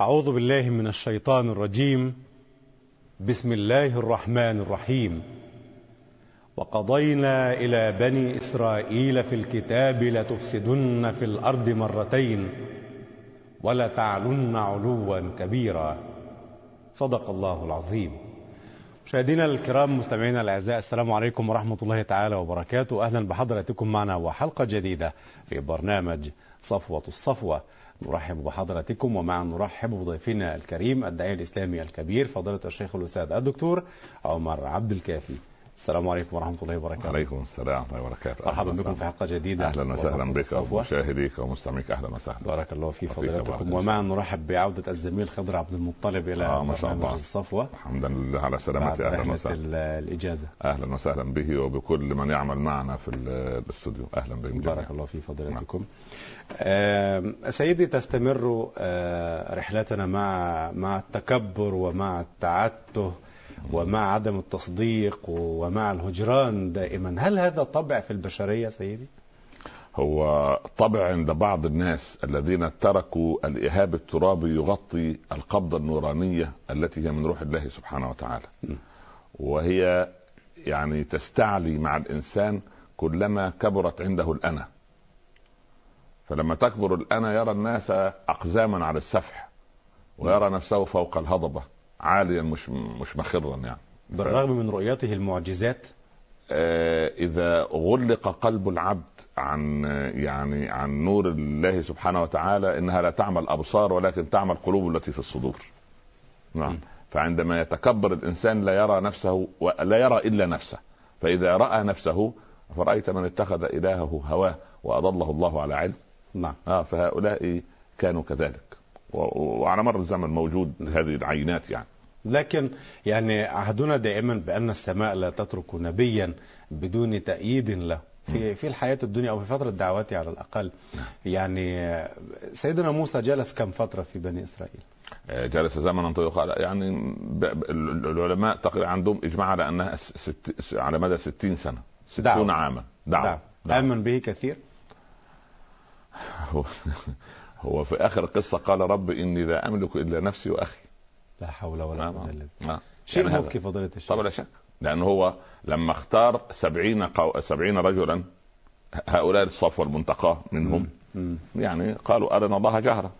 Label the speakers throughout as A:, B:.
A: أعوذ بالله من الشيطان الرجيم بسم الله الرحمن الرحيم وقضينا إلى بني إسرائيل في الكتاب لتفسدن في الأرض مرتين ولتعلن علوا كبيرا صدق الله العظيم مشاهدينا الكرام مستمعينا الاعزاء السلام عليكم ورحمه الله تعالى وبركاته اهلا بحضراتكم معنا وحلقه جديده في برنامج صفوه الصفوه نرحب بحضراتكم ومع نرحب بضيفنا الكريم الداعيه الاسلامي الكبير فضيله الشيخ الاستاذ الدكتور عمر عبد الكافي السلام عليكم ورحمه الله وبركاته
B: وعليكم السلام ورحمه الله وبركاته
A: مرحبا بكم في حلقه جديده
B: اهلا وسهلا
A: وصفوة
B: بك
A: الصفوة.
B: ومشاهديك ومستمعيك اهلا وسهلا
A: بارك الله في
B: وفيك
A: فضيلتكم
B: وبارك.
A: ومع نرحب بعوده الزميل خضر عبد المطلب الى
B: آه، ما شاء
A: برنامج
B: الله.
A: الصفوه
B: الحمد لله على
A: بعد
B: سلامتي اهلا
A: رحله
B: وسهلا
A: ال- الاجازه
B: اهلا وسهلا به وبكل من يعمل معنا في ال- الاستوديو اهلا بكم جميعا
A: بارك الله في
B: نعم.
A: فضيلتكم آم، سيدي تستمر آه، رحلتنا مع مع التكبر ومع التعته ومع عدم التصديق ومع الهجران دائما هل هذا طبع في البشرية سيدي؟
B: هو طبع عند بعض الناس الذين تركوا الإهاب الترابي يغطي القبضة النورانية التي هي من روح الله سبحانه وتعالى
A: م.
B: وهي يعني تستعلي مع الإنسان كلما كبرت عنده الأنا فلما تكبر الأنا يرى الناس أقزاما على السفح ويرى نفسه فوق الهضبة عاليا مش مش مخرا يعني
A: بالرغم من رؤيته المعجزات
B: آه، اذا غلق قلب العبد عن يعني عن نور الله سبحانه وتعالى انها لا تعمى الابصار ولكن تعمى القلوب التي في الصدور. نعم.
A: مم.
B: فعندما يتكبر الانسان لا يرى نفسه ولا يرى الا نفسه. فاذا راى نفسه فرايت من اتخذ الهه هواه واضله الله على علم.
A: نعم
B: اه فهؤلاء كانوا كذلك. و- وعلى مر الزمن موجود هذه العينات يعني.
A: لكن يعني عهدنا دائما بأن السماء لا تترك نبيا بدون تأييد له
B: نعم.
A: في في الحياة الدنيا أو في فترة دعوته على الأقل يعني آه، سيدنا موسى جلس كم فترة في بني إسرائيل؟
B: آه، جلس زمنا طويلا قال يعني ب- ب- ال- العلماء تقريبا عندهم اجماع على انها س- ست س- على مدى 60 سنه 60
A: دعوة.
B: عاما دعوة
A: نعم آمن به كثير
B: هو, هو في اخر القصه قال رب اني لا املك الا نفسي واخي
A: لا حول ولا
B: نعم.
A: قوة إلا بالله
B: آه.
A: شيء
B: يعني هذا.
A: مبكي فضيلة الشيخ
B: طبعا لا شك لان هو لما اختار 70 قو... 70 رجلا هؤلاء الصفوه المنتقاه منهم
A: مم.
B: يعني قالوا ارنا الله جهره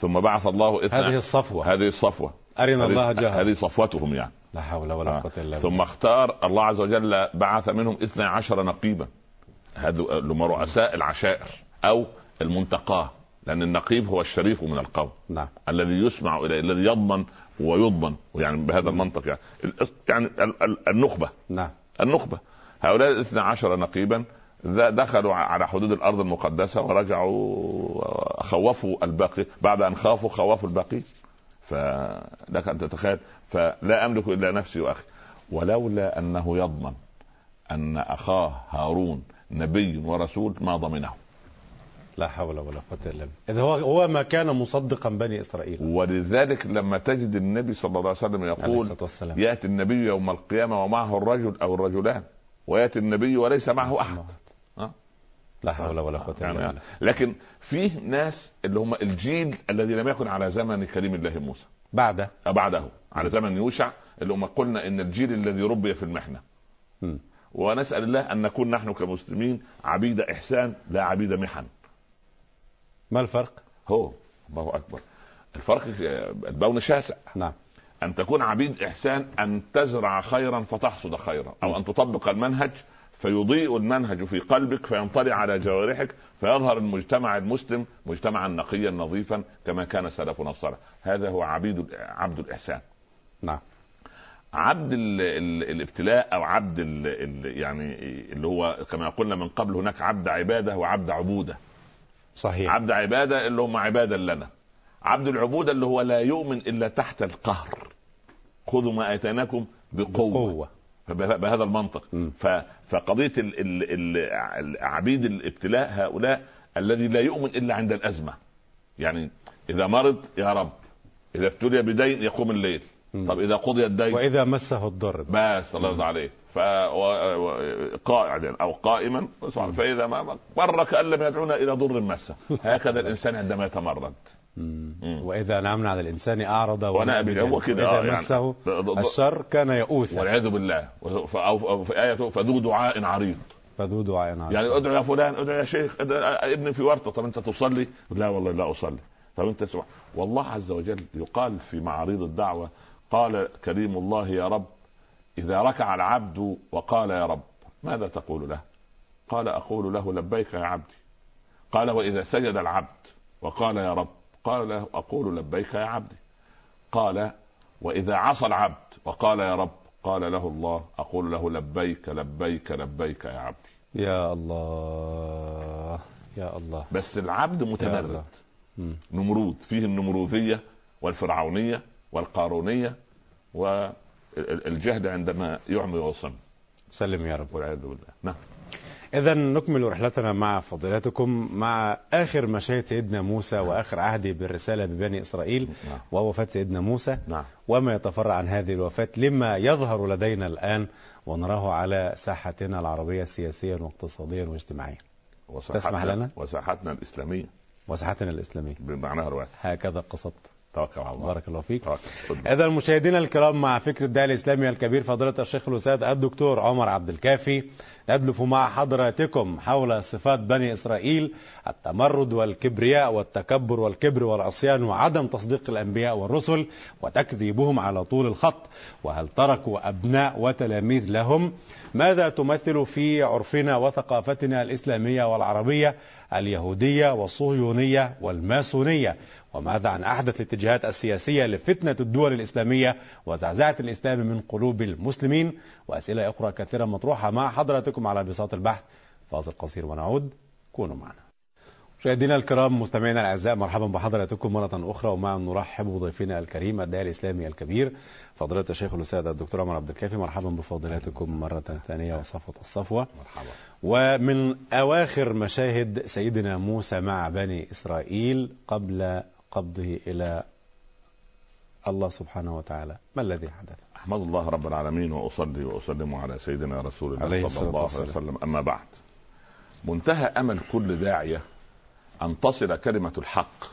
B: ثم بعث الله اثنى
A: هذه الصفوة
B: نعم. هذه الصفوه
A: أرنا
B: هذه-
A: الله جهرا
B: هذه صفوتهم يعني
A: لا حول ولا
B: آه.
A: قوة إلا بالله
B: ثم اختار الله عز وجل بعث منهم 12 نقيبا هذو اللي هم رؤساء العشائر او المنتقاه لان النقيب هو الشريف من القوم
A: نعم
B: الذي يسمع اليه الذي يضمن ويضمن يعني بهذا المنطق يعني ال- يعني ال- ال- النخبه
A: نعم
B: النخبه هؤلاء ال 12 نقيبا ذا- دخلوا ع- على حدود الارض المقدسه ورجعوا آه، خوفوا الباقي بعد ان خافوا خوفوا الباقي فلك ان تتخيل فلا املك الا نفسي واخي ولولا انه يضمن ان اخاه هارون نبي ورسول ما ضمنه
A: لا حول ولا قوة إلا بالله إذا هو هو ما كان مصدقا بني إسرائيل
B: ولذلك لما تجد النبي صلى الله عليه وسلم
A: عليه
B: يقول
A: الصلاة والسلام
B: ياتي النبي يوم القيامه ومعه الرجل او الرجلان وياتي النبي وليس معه احد آه.
A: لا حول ولا قوة إلا
B: يعني
A: بالله
B: لكن فيه ناس اللي هم الجيل الذي لم يكن على زمن كريم الله موسى
A: بعد
B: بعده على زمن يوشع اللي هم قلنا ان الجيل الذي ربي في المحنه
A: مم.
B: ونسال الله ان نكون نحن كمسلمين عبيد احسان لا عبيد محن
A: ما الفرق؟
B: هو الله اكبر الفرق البون شاسع
A: نعم
B: ان تكون عبيد احسان ان تزرع خيرا فتحصد خيرا او ان تطبق المنهج فيضيء المنهج في قلبك فينطلع على جوارحك فيظهر المجتمع المسلم مجتمعا نقيا نظيفا كما كان سلفنا الصالح هذا هو عبيد عبد الاحسان
A: نعم
B: عبد ال ال الابتلاء او عبد ال ال يعني اللي هو كما قلنا من قبل هناك عبد عباده وعبد عبوده
A: صحيح
B: عبد عباده اللي هم عبادا لنا عبد العبوده اللي هو لا يؤمن الا تحت القهر خذوا ما اتيناكم بقوه, بقوة.
A: قوة
B: بهذا المنطق
A: مم.
B: ف فقضيه ال ال ال العبيد الابتلاء هؤلاء الذي لا يؤمن الا عند الازمه يعني اذا مرض يا رب اذا ابتلي بدين يقوم الليل طب اذا قضي الدين
A: وإذا مسه الضر
B: بس الله يرضى عليه ف و- و- قاعدا او قائما
A: مم.
B: فاذا ما مر كان لم يدعونا الى ضر مسه هكذا الانسان عندما يتمرد
A: مم.
B: مم.
A: وإذا نعمنا على الإنسان أعرض
B: ونأى بالله. هو كده، آه،
A: وإذا
B: يعني.
A: مسه
B: ض- ض-
A: الشر كان يئوسا
B: والعياذ بالله ف- او أو في ايه فذو دعاء عريض
A: فذو دعاء عريض.
B: يعني ادعو يا فلان ادعو يا شيخ ادعو ابني في ورطه طب انت تصلي؟ لا والله لا اصلي طب انت سمع والله عز وجل يقال في معارض الدعوه قال كريم الله يا رب اذا ركع العبد وقال يا رب ماذا تقول له؟ قال اقول له لبيك يا عبدي قال واذا سجد العبد وقال يا رب قال له اقول لبيك يا عبدي قال واذا عصى العبد وقال يا رب قال له الله اقول له لبيك لبيك لبيك يا عبدي
A: يا الله يا الله
B: بس العبد
A: يا الله.
B: متمرد
A: مم.
B: نمرود فيه النمروذيه والفرعونيه والقارونيه والجهد عندما يعمي ويصم
A: سلم يا رب
B: والعياذ بالله نعم
A: إذا نكمل رحلتنا مع فضيلتكم مع آخر مشاهد سيدنا موسى وآخر عهده بالرسالة ببني إسرائيل
B: نعم.
A: وهو وفاة سيدنا موسى
B: نعم
A: وما يتفرع عن هذه الوفاة لما يظهر لدينا الآن ونراه على ساحتنا العربية سياسيا واقتصاديا واجتماعيا
B: وساحتنا-
A: تسمح لنا؟
B: وساحتنا الاسلاميه
A: وساحتنا الإسلامية
B: بمعناها الواسع
A: هكذا قصدت
B: توكل على الله
A: بارك الله فيك
B: توكل.
A: إذا مشاهدينا الكرام مع فكرة الداعي الإسلامي الكبير فضيلة الشيخ الأستاذ الدكتور عمر عبد الكافي ندلف مع حضراتكم حول صفات بني إسرائيل التمرد والكبرياء والتكبر والكبر والعصيان وعدم تصديق الأنبياء والرسل وتكذيبهم على طول الخط وهل تركوا أبناء وتلاميذ لهم ماذا تمثل في عرفنا وثقافتنا الإسلامية والعربية اليهودية والصهيونية والماسونية وماذا عن أحدث الاتجاهات السياسية لفتنة الدول الإسلامية وزعزعة الإسلام من قلوب المسلمين وأسئلة أخرى كثيرة مطروحة مع حضراتكم على بساط البحث فاصل قصير ونعود كونوا معنا مشاهدينا الكرام مستمعينا الاعزاء مرحبا بحضراتكم مره اخرى ومع نرحب بضيفنا الكريم الداعي الاسلامي الكبير فضيله الشيخ الاستاذ الدكتور عمر عبد الكافي مرحبا بفضيلتكم مره ثانيه وصفوه الصفوه
B: مرحبا
A: ومن أواخر مشاهد سيدنا موسى مع بني إسرائيل قبل قبضه إلى الله سبحانه وتعالى ما الذي حدث
B: احمد الله رب العالمين واصلي واسلم على سيدنا رسول
A: عليه
B: الله
A: الصلاة
B: صلى الله عليه
A: والسلام.
B: وسلم اما بعد منتهى امل كل داعيه ان تصل كلمه الحق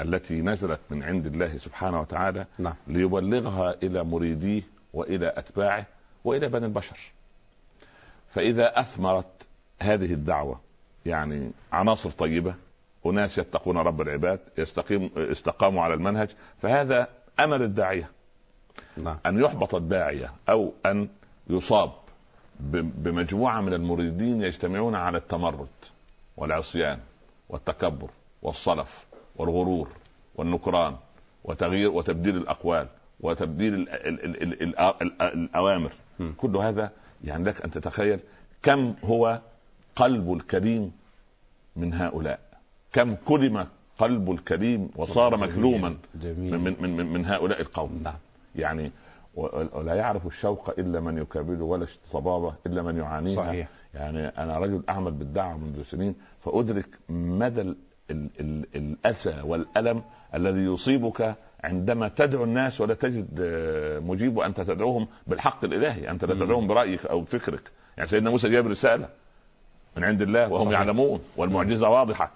B: التي نزلت من عند الله سبحانه وتعالى
A: نعم
B: ليبلغها الى مريديه والى اتباعه والى بني البشر. فاذا اثمرت هذه الدعوه يعني عناصر طيبه اناس يتقون رب العباد يستقيم استقاموا على المنهج فهذا امل الداعيه
A: نعم
B: ان يحبط الداعيه او ان يصاب ب- بمجموعه من المريدين يجتمعون على التمرد والعصيان والتكبر والصلف والغرور والنكران وتغيير وتبديل الاقوال وتبديل ال ال ال ال ال ال الاوامر
A: م.
B: كل هذا يعني لك ان تتخيل كم هو قلب الكريم من هؤلاء كم كلم قلب الكريم وصار
A: جميل.
B: مكلوما
A: جميل
B: من من من, من هؤلاء القوم
A: نعم
B: يعني و- ولا يعرف الشوق الا من يكابده ولا الصبابه الا من يعانيها
A: صحيح
B: يعني انا رجل اعمل بالدعوه منذ سنين فادرك مدى ال ال ال الاسى والالم الذي يصيبك عندما تدعو الناس ولا تجد آه، مجيب وانت تدعوهم بالحق الالهي، انت لا
A: مم.
B: تدعوهم برايك او بفكرك، يعني سيدنا موسى جاب رساله من عند الله وهم
A: صحيح.
B: يعلمون والمعجزه واضحه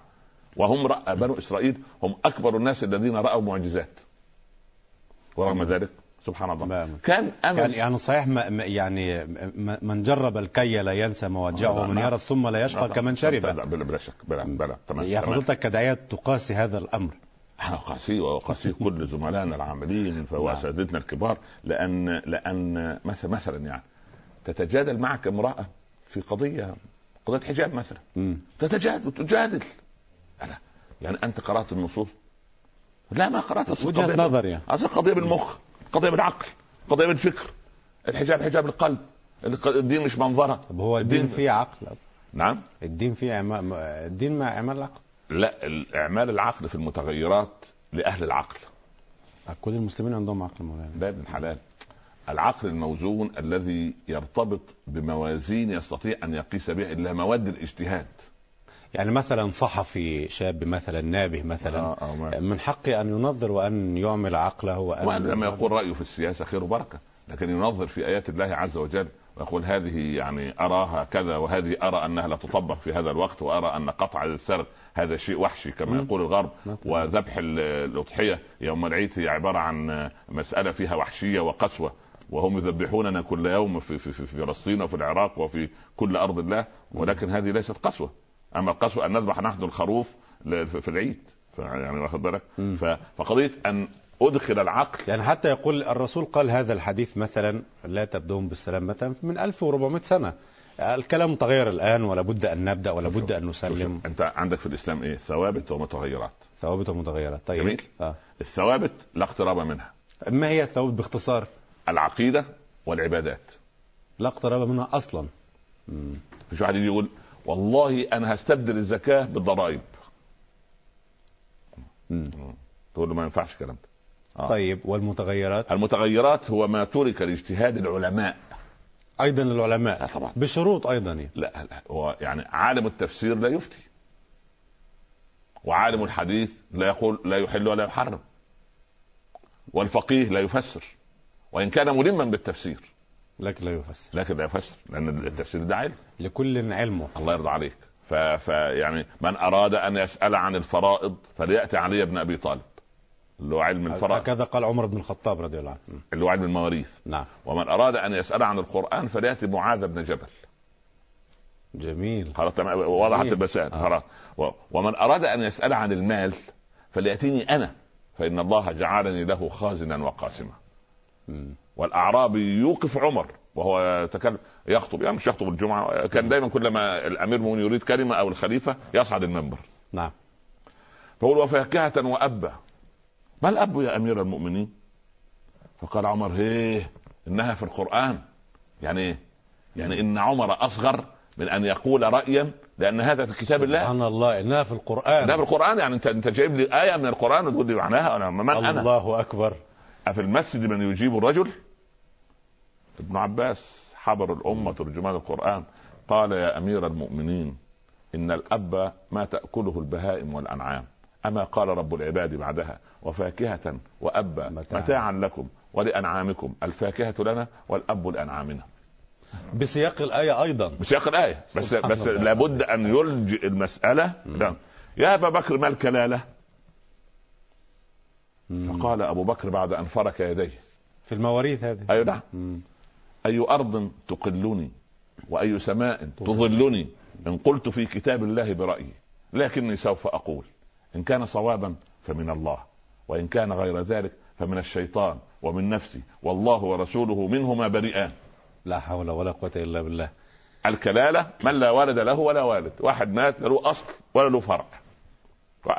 B: وهم رأى بنو اسرائيل هم اكبر الناس الذين راوا معجزات ورغم ذلك سبحان الله
A: ما-
B: كان امل
A: يعني يعني صحيح ما ما- يعني ما- من جرب الكي لا ينسى مواجعه
B: نعم.
A: ومن يرى السم لا يشقى كمن شرب نعم.
B: بلا بلا شك بلا بلا تمام
A: يا
B: تمام.
A: فضيلتك كداعية تقاسي هذا الأمر
B: احنا قاسيه وقاسيه كل زملائنا العاملين
A: نعم.
B: واساتذتنا الكبار لان لان مثلا مثلا يعني تتجادل معك امراه في قضيه قضيه حجاب مثلا
A: مم.
B: تتجادل تجادل أنا يعني انت قرات النصوص لا ما قرات النصوص.
A: وجهة
B: قضية-
A: نظر يعني
B: اصل قضيه بالمخ قضيه بالعقل قضيه بالفكر الحجاب حجاب القلب الق- الدين مش منظره
A: طب هو الدين
B: الدين-
A: فيه عقل أصلاً.
B: نعم
A: الدين فيه عمال الدين مع عمال العقل
B: لا ال- اعمال العقل في المتغيرات لاهل العقل
A: كل المسلمين عندهم عقل مولانا
B: ده ابن حلال العقل الموزون الذي يرتبط بموازين يستطيع ان يقيس بها الا مواد الاجتهاد
A: يعني مثلا صحفي شاب مثلا نابه مثلا
B: آه، آه، ما-
A: من حقه ان ينظر وان يعمل عقله وان
B: وأن لما يقول رأيه في السياسة خير وبركة لكن ينظر في آيات الله عز وجل ويقول هذه يعني أراها كذا وهذه أرى أنها لا تطبق في هذا الوقت وأرى أن قطع السرد هذا شيء وحشي كما
A: مم.
B: يقول الغرب
A: نعم.
B: وذبح ال- الأضحية يوم العيد هي عبارة عن مسألة فيها وحشية وقسوة وهم يذبحوننا كل يوم في, في, في في فلسطين وفي العراق وفي كل أرض الله ولكن هذه ليست قسوة أما القسوة أن نذبح نحن الخروف ل- في في العيد ف- يعني واخد بالك
A: مم.
B: ف- فقضية أن أدخل العقل
A: يعني حتى يقول الرسول قال هذا الحديث مثلا لا تبدون بالسلام مثلا من 1400 سنة الكلام تغير الآن ولا بد أن نبدأ ولا بد أن نسلم
B: شوف، انت عندك في الاسلام ايه ثوابت ومتغيرات
A: ثوابته متغيرة طيب
B: جميل.
A: آه.
B: الثوابت لا اقتراب منها
A: ما هي الثوابت باختصار
B: العقيده والعبادات
A: لا اقتراب منها أصلا مم.
B: مش واحد يجي يقول والله انا هستبدل الزكاه بالضرائب
A: مم.
B: تقول له ما ينفعش الكلام ده آه.
A: طيب والمتغيرات
B: المتغيرات هو ما ترك لاجتهاد العلماء
A: أيضا العلماء
B: آه طبعا
A: بشروط أيضا يعني.
B: لا لا هو يعني عالم التفسير لا يفتي وعالم الحديث لا يقول لا يحل ولا يحرم والفقيه لا يفسر وان كان ملما بالتفسير
A: لكن لا يفسر
B: لكن لا يفسر لان التفسير ده علم
A: لكل علمه
B: الله يرضى عليك ف... ف يعني من اراد ان يسال عن الفرائض فلياتي علي بن ابي طالب اللي هو علم الفرائض
A: هكذا قال عمر بن الخطاب رضي الله عنه مم.
B: اللي هو علم المواريث
A: نعم
B: ومن اراد ان يسال عن القران فلياتي معاذ بن جبل
A: جميل
B: خلاص تمام وضحت
A: جميل.
B: المسائل
A: آه.
B: خلاص و... ومن اراد ان يسال عن المال فلياتيني انا فان الله جعلني له خازنا وقاسما
A: مم.
B: والاعرابي يوقف عمر وهو يتكلم يخطب يعني مش يخطب الجمعه كان دايما كلما الامير مؤمن يريد كلمه او الخليفه يصعد المنبر
A: نعم
B: فقل وفاكهة وأبا ما الأب يا أمير المؤمنين فقال عمر هيه إنها في القرآن يعني إيه يعني إن عمر أصغر من أن يقول رأيا لأن هذا في كتاب الله
A: سبحان الله إنها في
B: ده في
A: القرآن
B: القرآن يعني أنت أنت جايب لي آية من القرآن وتقول لي معناها أنا من أنا
A: الله أكبر
B: أفي المسجد من يجيب الرجل ابن عباس حبر الأمة ترجمان القرآن قال يا أمير المؤمنين إن الأب ما تأكله البهائم والأنعام أما قال رب العباد بعدها وفاكهة وأبا
A: متاعاً.
B: متاعا, لكم ولأنعامكم الفاكهة لنا والأب لأنعامنا
A: بسياق الآية أيضا
B: مش آخر آية بس
A: سبحان
B: بس
A: الله.
B: لابد أن يلجئ المسألة ده. يا أبا بكر ما الكلالة
A: مم.
B: فقال أبو بكر بعد أن فرك يديه
A: في المواريث هذه
B: أي نعم
A: مم.
B: أي أرض تقلني وأي سماء تظلني إن قلت في كتاب الله برأيي لكني سوف أقول إن كان صوابا فمن الله وإن كان غير ذلك فمن الشيطان ومن نفسي والله ورسوله منهما بريئان
A: لا حول ولا قوة إلا بالله
B: الكلالة من لا ولد له ولا والد واحد مات لا له أصل ولا له فرع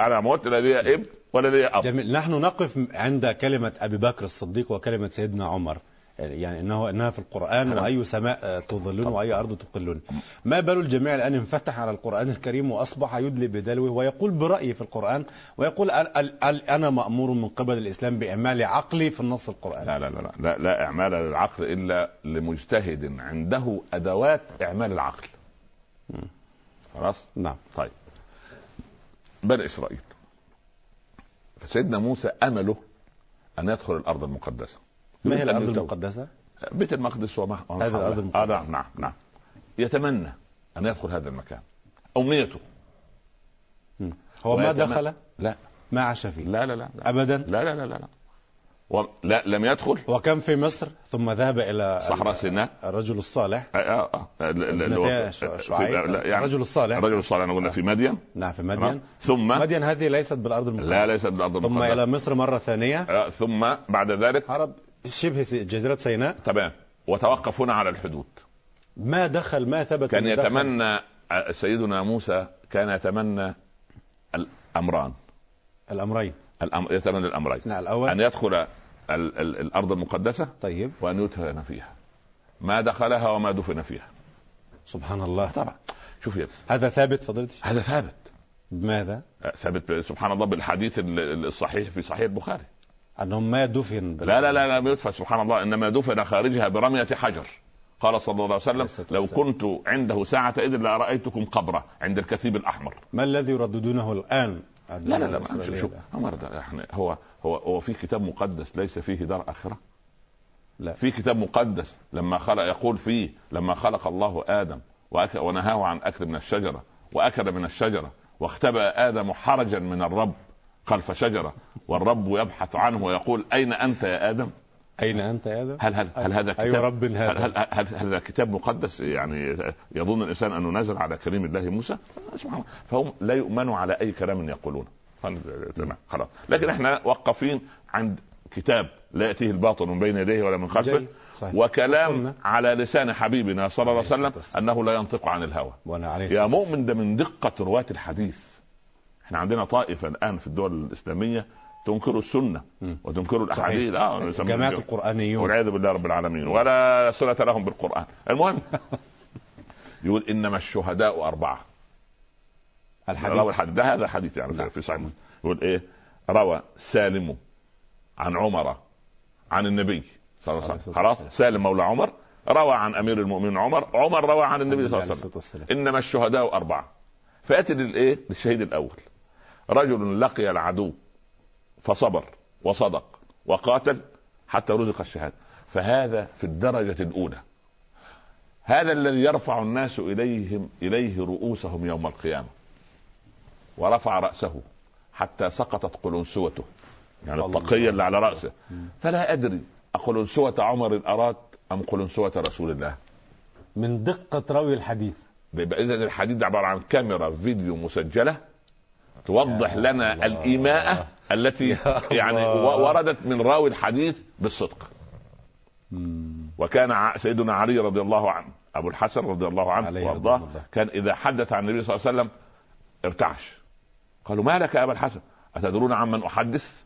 B: أنا مت لا لي ابن ولا لي أب
A: جميل نحن نقف عند كلمة أبي بكر الصديق وكلمة سيدنا عمر يعني انه انها في القران
B: نعم.
A: واي سماء آه، تظلون واي ارض تقلون ما بال الجميع الان انفتح على القران الكريم واصبح يدلي بدلوه ويقول برايه في القران ويقول ال- ال- ال- انا مامور من قبل الاسلام باعمال عقلي في النص القراني
B: لا لا لا لا لا اعمال للعقل الا لمجتهد عنده ادوات اعمال العقل خلاص
A: نعم
B: طيب بني اسرائيل فسيدنا موسى امله ان يدخل الارض المقدسه
A: ما هي
B: يريد أن
A: الارض
B: يتوب.
A: المقدسه
B: بيت المقدس وما وما
A: هذا
B: حوله.
A: الأرض
B: آه
A: المقدسة.
B: نعم نعم نعم يتمنى ان يدخل هذا المكان امنيته
A: هو ما
B: ويتمنى-
A: دخل
B: لا
A: ما عاش فيه
B: لا لا لا لا
A: ابدا
B: لا لا لا لا, لا. و... لا لم يدخل
A: وكان في مصر ثم ذهب الى
B: صحراء سيناء
A: الرجل الصالح
B: آه، آه آه لا، لا،
A: ابن
B: لا،
A: فيها
B: في-
A: شع- شعيب
B: لا، يعني
A: الرجل الصالح
B: الرجل الصالح انا قلنا في مدين
A: نعم في مدين
B: تمام؟ ثم
A: مدين هذه ليست بالارض المقدسه
B: لا ليس بالارض
A: ثم آه.
B: المقدسة.
A: الى مصر مره ثانيه
B: آه، ثم بعد ذلك
A: هرب شبه س- جزيره سيناء
B: تمام وتوقف هنا على الحدود
A: ما دخل ما ثبت
B: كان
A: إنه دخل.
B: يتمنى آه، سيدنا موسى كان يتمنى الامران
A: الامرين
B: الأم... يتمنى الامرين
A: نعم الاول
B: ان يدخل ال... ال... الارض المقدسه
A: طيب
B: وان يدفن فيها ما دخلها وما دفن فيها
A: سبحان الله
B: طبعا شوف يا-
A: هذا ثابت فضيلتي
B: هذا ثابت
A: بماذا؟
B: آه، ثابت ب- سبحان الله بالحديث ال- ال- الصحيح في صحيح البخاري
A: انهم ما دفن بال-
B: لا لا لا لم يدفن سبحان الله انما دفن خارجها برميه حجر قال صلى الله عليه وسلم
A: عليه الصلاة
B: لو
A: والسلام.
B: كنت عنده ساعة إذ لأرأيتكم قبره عند الكثيب الأحمر
A: ما الذي يرددونه الان
B: لا لا لا ما-
A: الإسرائيلية
B: شوف
A: الآن؟
B: عمر ده احنا هو هو هو في كتاب مقدس ليس فيه دار آخرة
A: لا
B: في كتاب مقدس لما خلق يقول فيه لما خلق الله آدم وأك- ونهاه عن أكل من الشجرة وأكل من الشجرة واختبأ آدم حرجا من الرب خلف شجرة والرب يبحث عنه ويقول أين أنت يا آدم
A: اين انت يا ادم؟
B: هل هل هل هذا
A: أي
B: كتاب
A: أيوة. رب هذا؟
B: هل هل, هل, هل هذا كتاب مقدس يعني يظن الانسان انه نزل على كريم الله موسى سبحان الله فهم لا يؤمنوا على اي كلام يقولونه فال- تمام خلاص لكن احنا وقفين عند كتاب لا ياتيه الباطل من بين يديه ولا من خلفه
A: جيد. صحيح.
B: وكلام
A: قلنا.
B: على لسان حبيبنا صلى الله
A: عليه
B: عليه وسلم
A: الصلاة والسلام.
B: انه لا ينطق عن الهوى
A: وانا عليه الصلاة
B: يا مؤمن ده من دقة رواة الحديث احنا عندنا طائفة الآن في الدول الإسلامية تنكر السنة
A: مم.
B: وتنكر الأحاديث اه
A: والسلام. جماعه القرانيون
B: والعياذ بالله رب العالمين ولا صلة لهم بالقرآن المهم يقول إنما الشهداء أربعة روى
A: الحديث
B: الحديث ده هذا حديث يعني
A: نعم.
B: في- في صحيح مسلم. يقول إيه روى سالم عن عمر عن النبي صلى الله عليه وسلم
A: عليه الصلاة
B: خلاص سالم مولى عمر روى عن أمير المؤمنين عمر عمر روى عن النبي صلى الله
A: عليه
B: عليه وسلم
A: الصلاه والسلام
B: انما الشهداء اربعه فياتي للايه؟ للشهيد الاول رجل لقي العدو فصبر وصدق وقاتل حتى رزق الشهاده فهذا في الدرجه الاولى هذا الذي يرفع الناس اليهم اليه رؤوسهم يوم القيامه ورفع راسه حتى سقطت قلنسوته يعني
A: الله.
B: الطاقيه اللي على راسه فلا ادري اقلنسوه عمر اراد ام قلنسوه رسول الله
A: من دقه روي الحديث
B: بيبقى اذا الحديد ده عباره عن كاميرا فيديو مسجله توضح
A: يا
B: لنا
A: الله.
B: الايماءه التي يعني
A: الله.
B: و- وردت من راوي الحديث بالصدق وكان ع- سيدنا علي رضي الله عنه ابو الحسن رضي الله عنه
A: عليه رضي
B: وارضاه
A: الله.
B: كان اذا حدث عن النبي صلى الله عليه وسلم ارتعش قالوا ما لك يا ابا الحسن اتدرون عمن احدث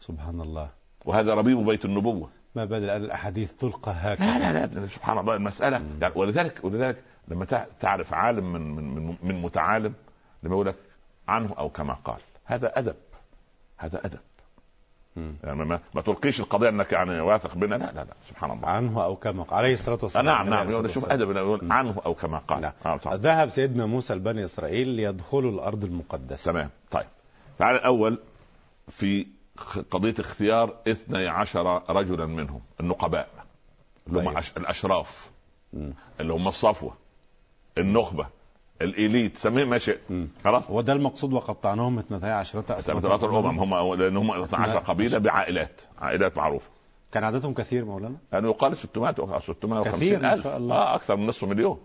A: سبحان الله
B: وهذا ربيب بيت النبوه
A: ما بدل الاحاديث تلقى هكذا
B: لا لا لا سبحان الله المسألة يعني ولذلك ولذلك لما تع- تعرف عالم من من من, من متعالم لما يقول لك عنه أو كما قال هذا أدب هذا أدب
A: مم.
B: يعني ما, ما تلقيش القضية أنك يعني واثق بنا لا لا لا سبحان الله
A: عنه او كما قال عليه الصلاه
B: آه،
A: والسلام
B: نعم
A: عليه
B: نعم
A: الصلاة
B: يقول شوف
A: والسلام.
B: أدب لما يقول عنه أو كما قال
A: نعم.
B: آه، صح.
A: ذهب سيدنا موسى لبني اسرائيل ليدخلوا الارض المقدسه
B: تمام طيب تعال الأول في خ- قضية اختيار 12 رجلا منهم النقباء اللي هم
A: طيب.
B: أش- الأشراف
A: مم.
B: اللي هم الصفوه النخبه الاليت سميه ما شئت
A: مم.
B: خلاص
A: وده المقصود وقطعناهم اثنتي عشرة
B: ثلاث الامم هم لان هم 12
A: لا.
B: قبيله بعائلات عائلات معروفه
A: كان عددهم كثير مولانا
B: يعني يقال 600 أو 650
A: كثير ما
B: ألف.
A: شاء الله.
B: اه اكثر من نصف مليون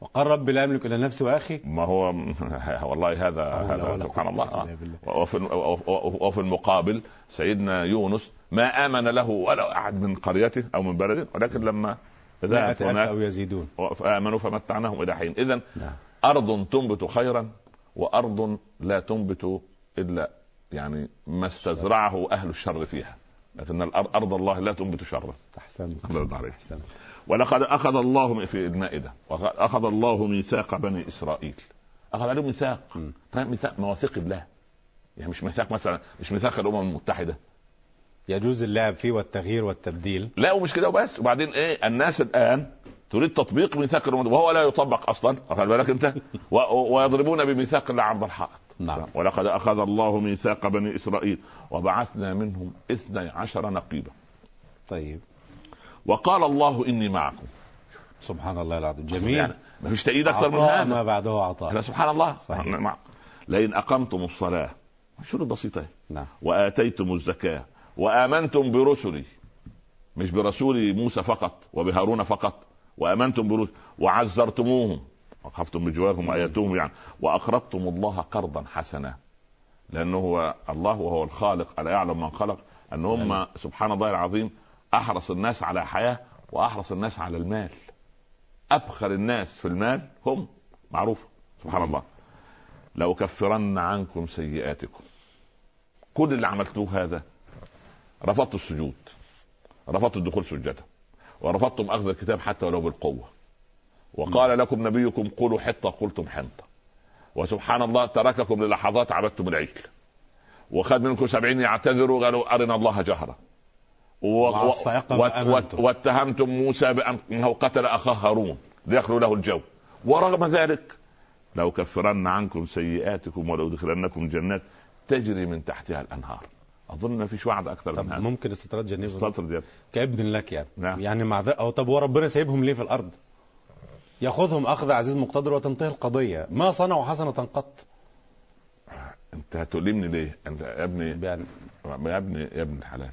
A: وقال رب لا املك الا نفسي واخي
B: ما هو والله هذا
A: حول
B: هذا
A: ولا
B: سبحان
A: قوة
B: الله
A: إلا
B: آه.
A: بالله.
B: وفي وفي المقابل سيدنا يونس ما امن له ولا احد من قريته او من بلده ولكن لما ذهب
A: مئة ألف
B: هناك
A: او يزيدون
B: فامنوا فمتعناهم الى حين اذا
A: نعم
B: ارض تنبت خيرا وارض لا تنبت الا يعني ما استزرعه اهل الشر فيها لكن الأر- ارض الله لا تنبت شرا
A: احسنت
B: أحسنت عليك.
A: احسنت
B: ولقد اخذ الله م- في المائده وقد اخذ الله ميثاق بني اسرائيل اخذ عليهم ميثاق
A: مم.
B: طيب ميثاق مواثيق الله يعني مش ميثاق مثلا مش ميثاق الامم المتحده
A: يجوز اللعب فيه والتغيير والتبديل
B: لا ومش كده وبس وبعدين ايه الناس الان تريد تطبيق ميثاق الامم وهو لا يطبق اصلا واخد بالك انت و- و- ويضربون بميثاق الله عرض الحائط
A: نعم
B: ولقد أخذ الله ميثاق بني إسرائيل وبعثنا منهم اثني عشر نقيبا
A: طيب
B: وقال الله إني معكم
A: سبحان الله العظيم
B: يعني
A: جميل
B: ما فيش تأييد أكثر من
A: عطاء ما
B: هذا
A: بعده
B: احنا
A: عطاء
B: سبحان الله
A: صحيح.
B: أنا مع- لئن أقمتم الصلاة شروط بسيطة أهي.
A: نعم
B: وآتيتم الزكاة وآمنتم برسلي مش برسول موسى فقط وبهارون فقط وآمنتم برسلي وعزرتموهم وخفتم بجوارهم وآياتهم يعني وأقرضتم الله قرضا حسنا لأنه هو الله وهو الخالق ألا يعلم من خلق أن هم سبحان الله العظيم أحرص الناس على حياة وأحرص الناس على المال أبخل الناس في المال هم معروف سبحان الله لو كفرن عنكم سيئاتكم كل اللي عملتوه هذا رفضت السجود رفضت الدخول سجدا ورفضتم اخذ الكتاب حتى ولو بالقوه وقال لكم نبيكم قولوا حطه قلتم حنطه وسبحان الله ترككم للحظات عبدتم العجل وخد منكم سبعين يعتذروا قالوا ارنا الله جهره و...
A: مع
B: و...
A: الصاعقة
B: و... و...
A: وأمانته.
B: واتهمتم موسى بأنه قتل أخاه هارون ليخلو له الجو ورغم ذلك لأكفرن عنكم سيئاتكم ولأدخلنكم جنات تجري من تحتها الأنهار أظن ما فيش وعد أكثر
A: طب
B: من هذا
A: ممكن استطراد جنيف
B: استطرد يا ابني.
A: كابن لك يعني
B: نعم.
A: يعني مع ذلك أو طب وربنا سايبهم ليه في الارض؟ ياخذهم اخذ عزيز مقتدر وتنتهي القضيه، ما صنعوا حسنه قط
B: أنت هتؤلمني ليه؟ أنت يا ابني
A: يعني
B: يا ابني يا ابن الحلال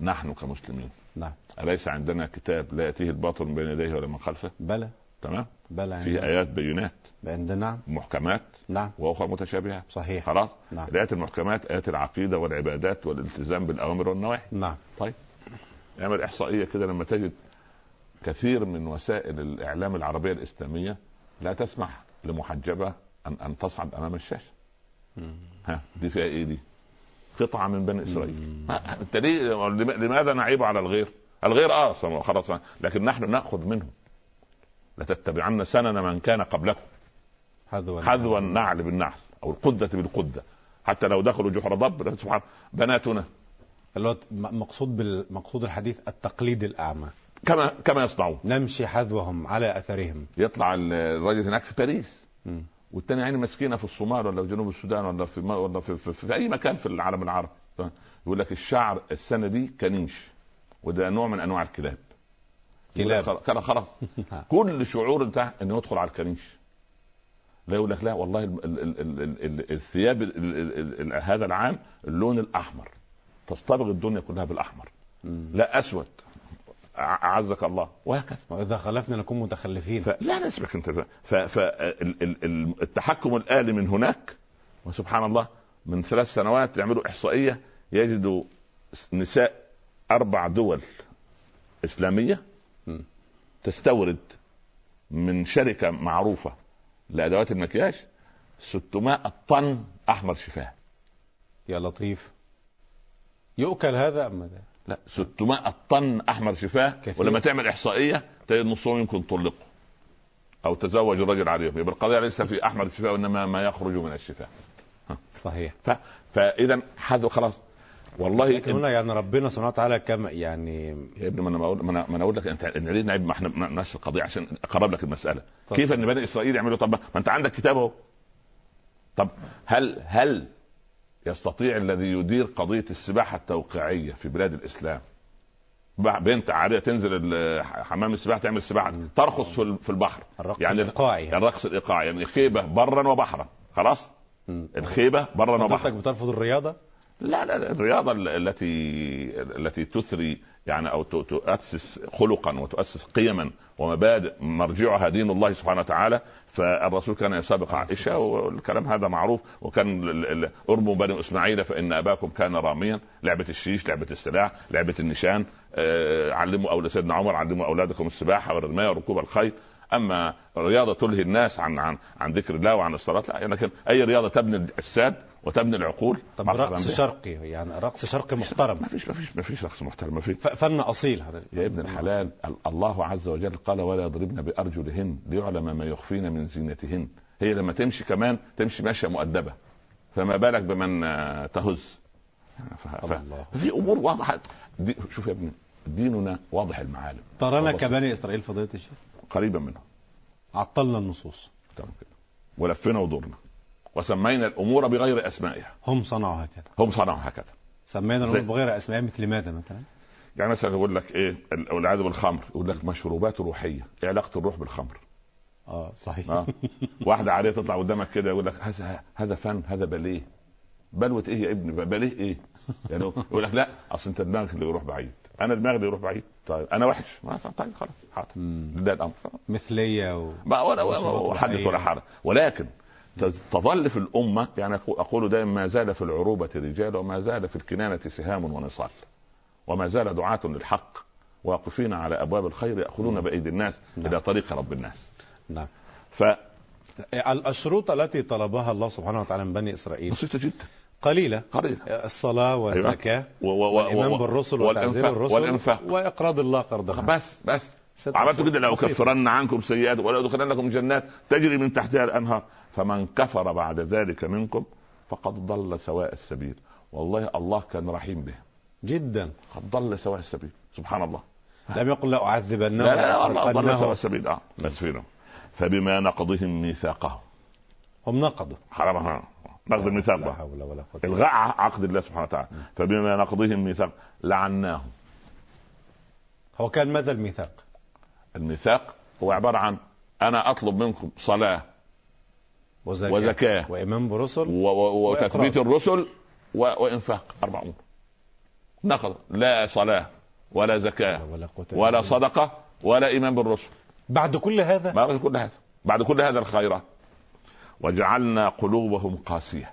B: نحن كمسلمين
A: نعم
B: أليس عندنا كتاب لا يأتيه الباطل من بين يديه ولا من خلفه؟
A: بلى
B: تمام؟
A: بلى
B: فيه
A: عندنا
B: آيات بينات
A: عندنا نعم
B: محكمات
A: نعم
B: وأخرى متشابهة
A: صحيح
B: خلاص
A: نعم
B: الآيات المحكمات آيات العقيدة والعبادات والالتزام بالأوامر والنواهي
A: نعم
B: طيب. اعمل إحصائية كده لما تجد كثير من وسائل الإعلام العربية الإسلامية لا تسمح لمحجبة أن أن تصعد أمام الشاشة ها دي فيها إيه دي؟ قطعة من بني إسرائيل ما- أنت ليه لم- لماذا نعيب على الغير؟ الغير آه صم- خلاص لكن نحن نأخذ منهم لتتبعن سنن من كان قبلكم
A: حذوا
B: حذو النعل بالنعل او القده بالقده حتى لو دخلوا جحر ضب سبحان بناتنا
A: اللي هو م- مقصود بالمقصود الحديث التقليد الاعمى
B: كما كما يصنعون
A: نمشي حذوهم على اثرهم
B: يطلع ال- الراجل هناك في باريس
A: مم.
B: والتاني عيني مسكينه في الصومال ولا في جنوب السودان ولا في ما ولا في, في, في, في اي مكان في العالم العربي يقول لك الشعر السنه دي كنيش وده نوع من انواع الكلاب
A: كلاب.
B: يقول لك خلاص خلاص كل شعور بتاع انه يدخل على الكنيش لا يقول لك لا والله ال ال ال ال ال ال الثياب ال ال ال ال هذا العام اللون الاحمر تصطبغ الدنيا كلها بالاحمر
A: مم.
B: لا اسود أع- اعزك الله وهكذا
A: واذا خلفنا نكون متخلفين
B: ف... لا لا اسمك انت فالتحكم الالي من هناك وسبحان الله من ثلاث سنوات يعملوا احصائيه يجدوا نساء اربع دول اسلاميه
A: مم.
B: تستورد من شركه معروفه لادوات المكياج 600 طن احمر شفاه
A: يا لطيف يؤكل هذا أم ده؟
B: لا 600 طن احمر شفاه
A: كثير.
B: ولما تعمل احصائيه تجد نصهم يمكن طلقوا او تزوج الرجل عليهم يبقى القضيه ليس في احمر الشفاه وانما ما يخرج من الشفاه
A: صحيح
B: ف... فاذا حد خلاص والله
A: لكن
B: طيب، إن...
A: هنا يعني ربنا سبحانه وتعالى كما يعني
B: يا ابني ما انا بقول ما انا ما أنا اقول لك انت إن ليه نعيب ما احنا ما- نفس القضيه عشان اقرب لك المساله
A: طب.
B: كيف ان بني اسرائيل يعملوا طب ما ما انت عندك كتاب اهو طب هل هل يستطيع الذي يدير قضيه السباحه التوقيعيه في بلاد الاسلام بع- بنت عاريه تنزل ال- ح- حمام السباحه تعمل سباحه ترقص في ال- في البحر
A: الرقص
B: يعني
A: الإيقاعي.
B: الرقص الايقاعي يعني خيبه برا وبحرا خلاص
A: مم.
B: الخيبه برا وبحرا
A: حضرتك بترفض الرياضه
B: لا لا لا، الرياضة ال- التي التي تثري يعني او ت- تؤسس خلقا وتؤسس قيما ومبادئ مرجعها دين الله سبحانه وتعالى فالرسول كان يسابق عائشة والكلام هذا معروف وكان ال- ال- ارموا بني اسماعيل فان اباكم كان راميا لعبة الشيش لعبة السلاح لعبة النشان آه، علموا اولاد سيدنا عمر علموا اولادكم السباحة والرماية وركوب الخيل اما رياضه تلهي الناس عن عن عن ذكر الله وعن الصلاه لا لكن اي رياضه تبني الاجساد وتبني العقول
A: طب
B: مرحباً
A: رقص
B: بها.
A: شرقي يعني رقص شرقي محترم
B: ما فيش ما فيش ما فيش رقص محترم ما فيش
A: ف- فن اصيل حضرتك
B: يا ابن الحلال ال- الله عز وجل قال ولا يضربن بارجلهن ليعلم ما يخفين من زينتهن هي لما تمشي كمان تمشي ماشيه مؤدبه فما بالك بمن آه، تهز ف- ف-
A: الله.
B: في امور واضحه دي شوف يا ابني ديننا واضح المعالم
A: ترانا
B: والله.
A: كبني اسرائيل فضيله الشيخ
B: قريبا منه
A: عطلنا النصوص
B: تمام كده ولفنا ودورنا وسمينا الامور بغير اسمائها
A: هم صنعوا هكذا
B: هم صنعوا هكذا
A: سمينا الامور
B: زي-
A: بغير اسماء مثل ماذا مثلا
B: يعني مثلا يقول لك ايه ال- والعياذ بالخمر يقول لك مشروبات روحيه ايه علاقه الروح بالخمر
A: اه صحيح
B: اه واحده عاديه تطلع قدامك كده يقول لك هذا هذا فن هذا باليه بلوه ايه يا ابني باليه ايه يعني هو يقول لك لا اصل انت دماغك اللي يروح بعيد انا دماغي اللي يروح بعيد طيب انا وحش ما- طيب خلاص حاضر
A: مم.
B: ده الامر
A: مثلية و...
B: ما ولا
A: مشروبات
B: ولا حدث ولا
A: روحية.
B: حرج ولكن ت- تظل في الامه يعني أقو- اقول دائما ما زال في العروبه رجال وما زال في الكنانه سهام ونصال وما زال دعاة للحق واقفين على ابواب الخير ياخذون بايدي الناس
A: نعم.
B: الى طريق رب الناس
A: نعم
B: فبسيطه
A: الشروط التي طلبها الله سبحانه وتعالى من بني اسرائيل
B: جدا
A: قليله
B: قليله
A: الصلاه
B: أيوة.
A: والزكاه
B: و- و- و-
A: والايمان
B: و-
A: بالرسل وتعزير
B: والإنفاق-
A: الرسل
B: والإنفاق.
A: واقراض الله قرضا حسنا.
B: بس بس
A: ستة
B: عملت
A: أشهر.
B: كده لو
A: بسيطة.
B: كفرن عنكم سيئات ولا ادخلنكم جنات تجري من تحتها الانهار فمن كفر بعد ذلك منكم فقد ضل سواء السبيل والله الله كان رحيم به
A: جدا
B: قد ضل سواء السبيل سبحان الله
A: لم يقل لا أعذبنه
B: لا لا, لا والله قد ضل
A: وأحرقنه.
B: سواء السبيل اه بس فينا فبما نقضهم ميثاقهم
A: هم نقضوا
B: حرام حرام نقض الميثاق
A: لا
B: بقى
A: حول ولا قوة إلا
B: الغاء عقد الله سبحانه وتعالى فبما نقضهم ميثاق لعناهم
A: هو كان ماذا الميثاق؟
B: الميثاق هو عباره عن انا اطلب منكم صلاه
A: وزكاة,
B: وزكاه
A: وإيمان برسل
B: و- و- وتثبيت
A: وإقرار.
B: الرسل و- وانفاق اربع امور نقض لا صلاه ولا
A: لا
B: زكاه
A: حول ولا قوة إلا
B: ولا
A: بالله.
B: صدقه ولا ايمان بالرسل
A: بعد كل هذا
B: ما بعد كل هذا بعد كل هذا الخيرات وجعلنا قلوبهم قاسيه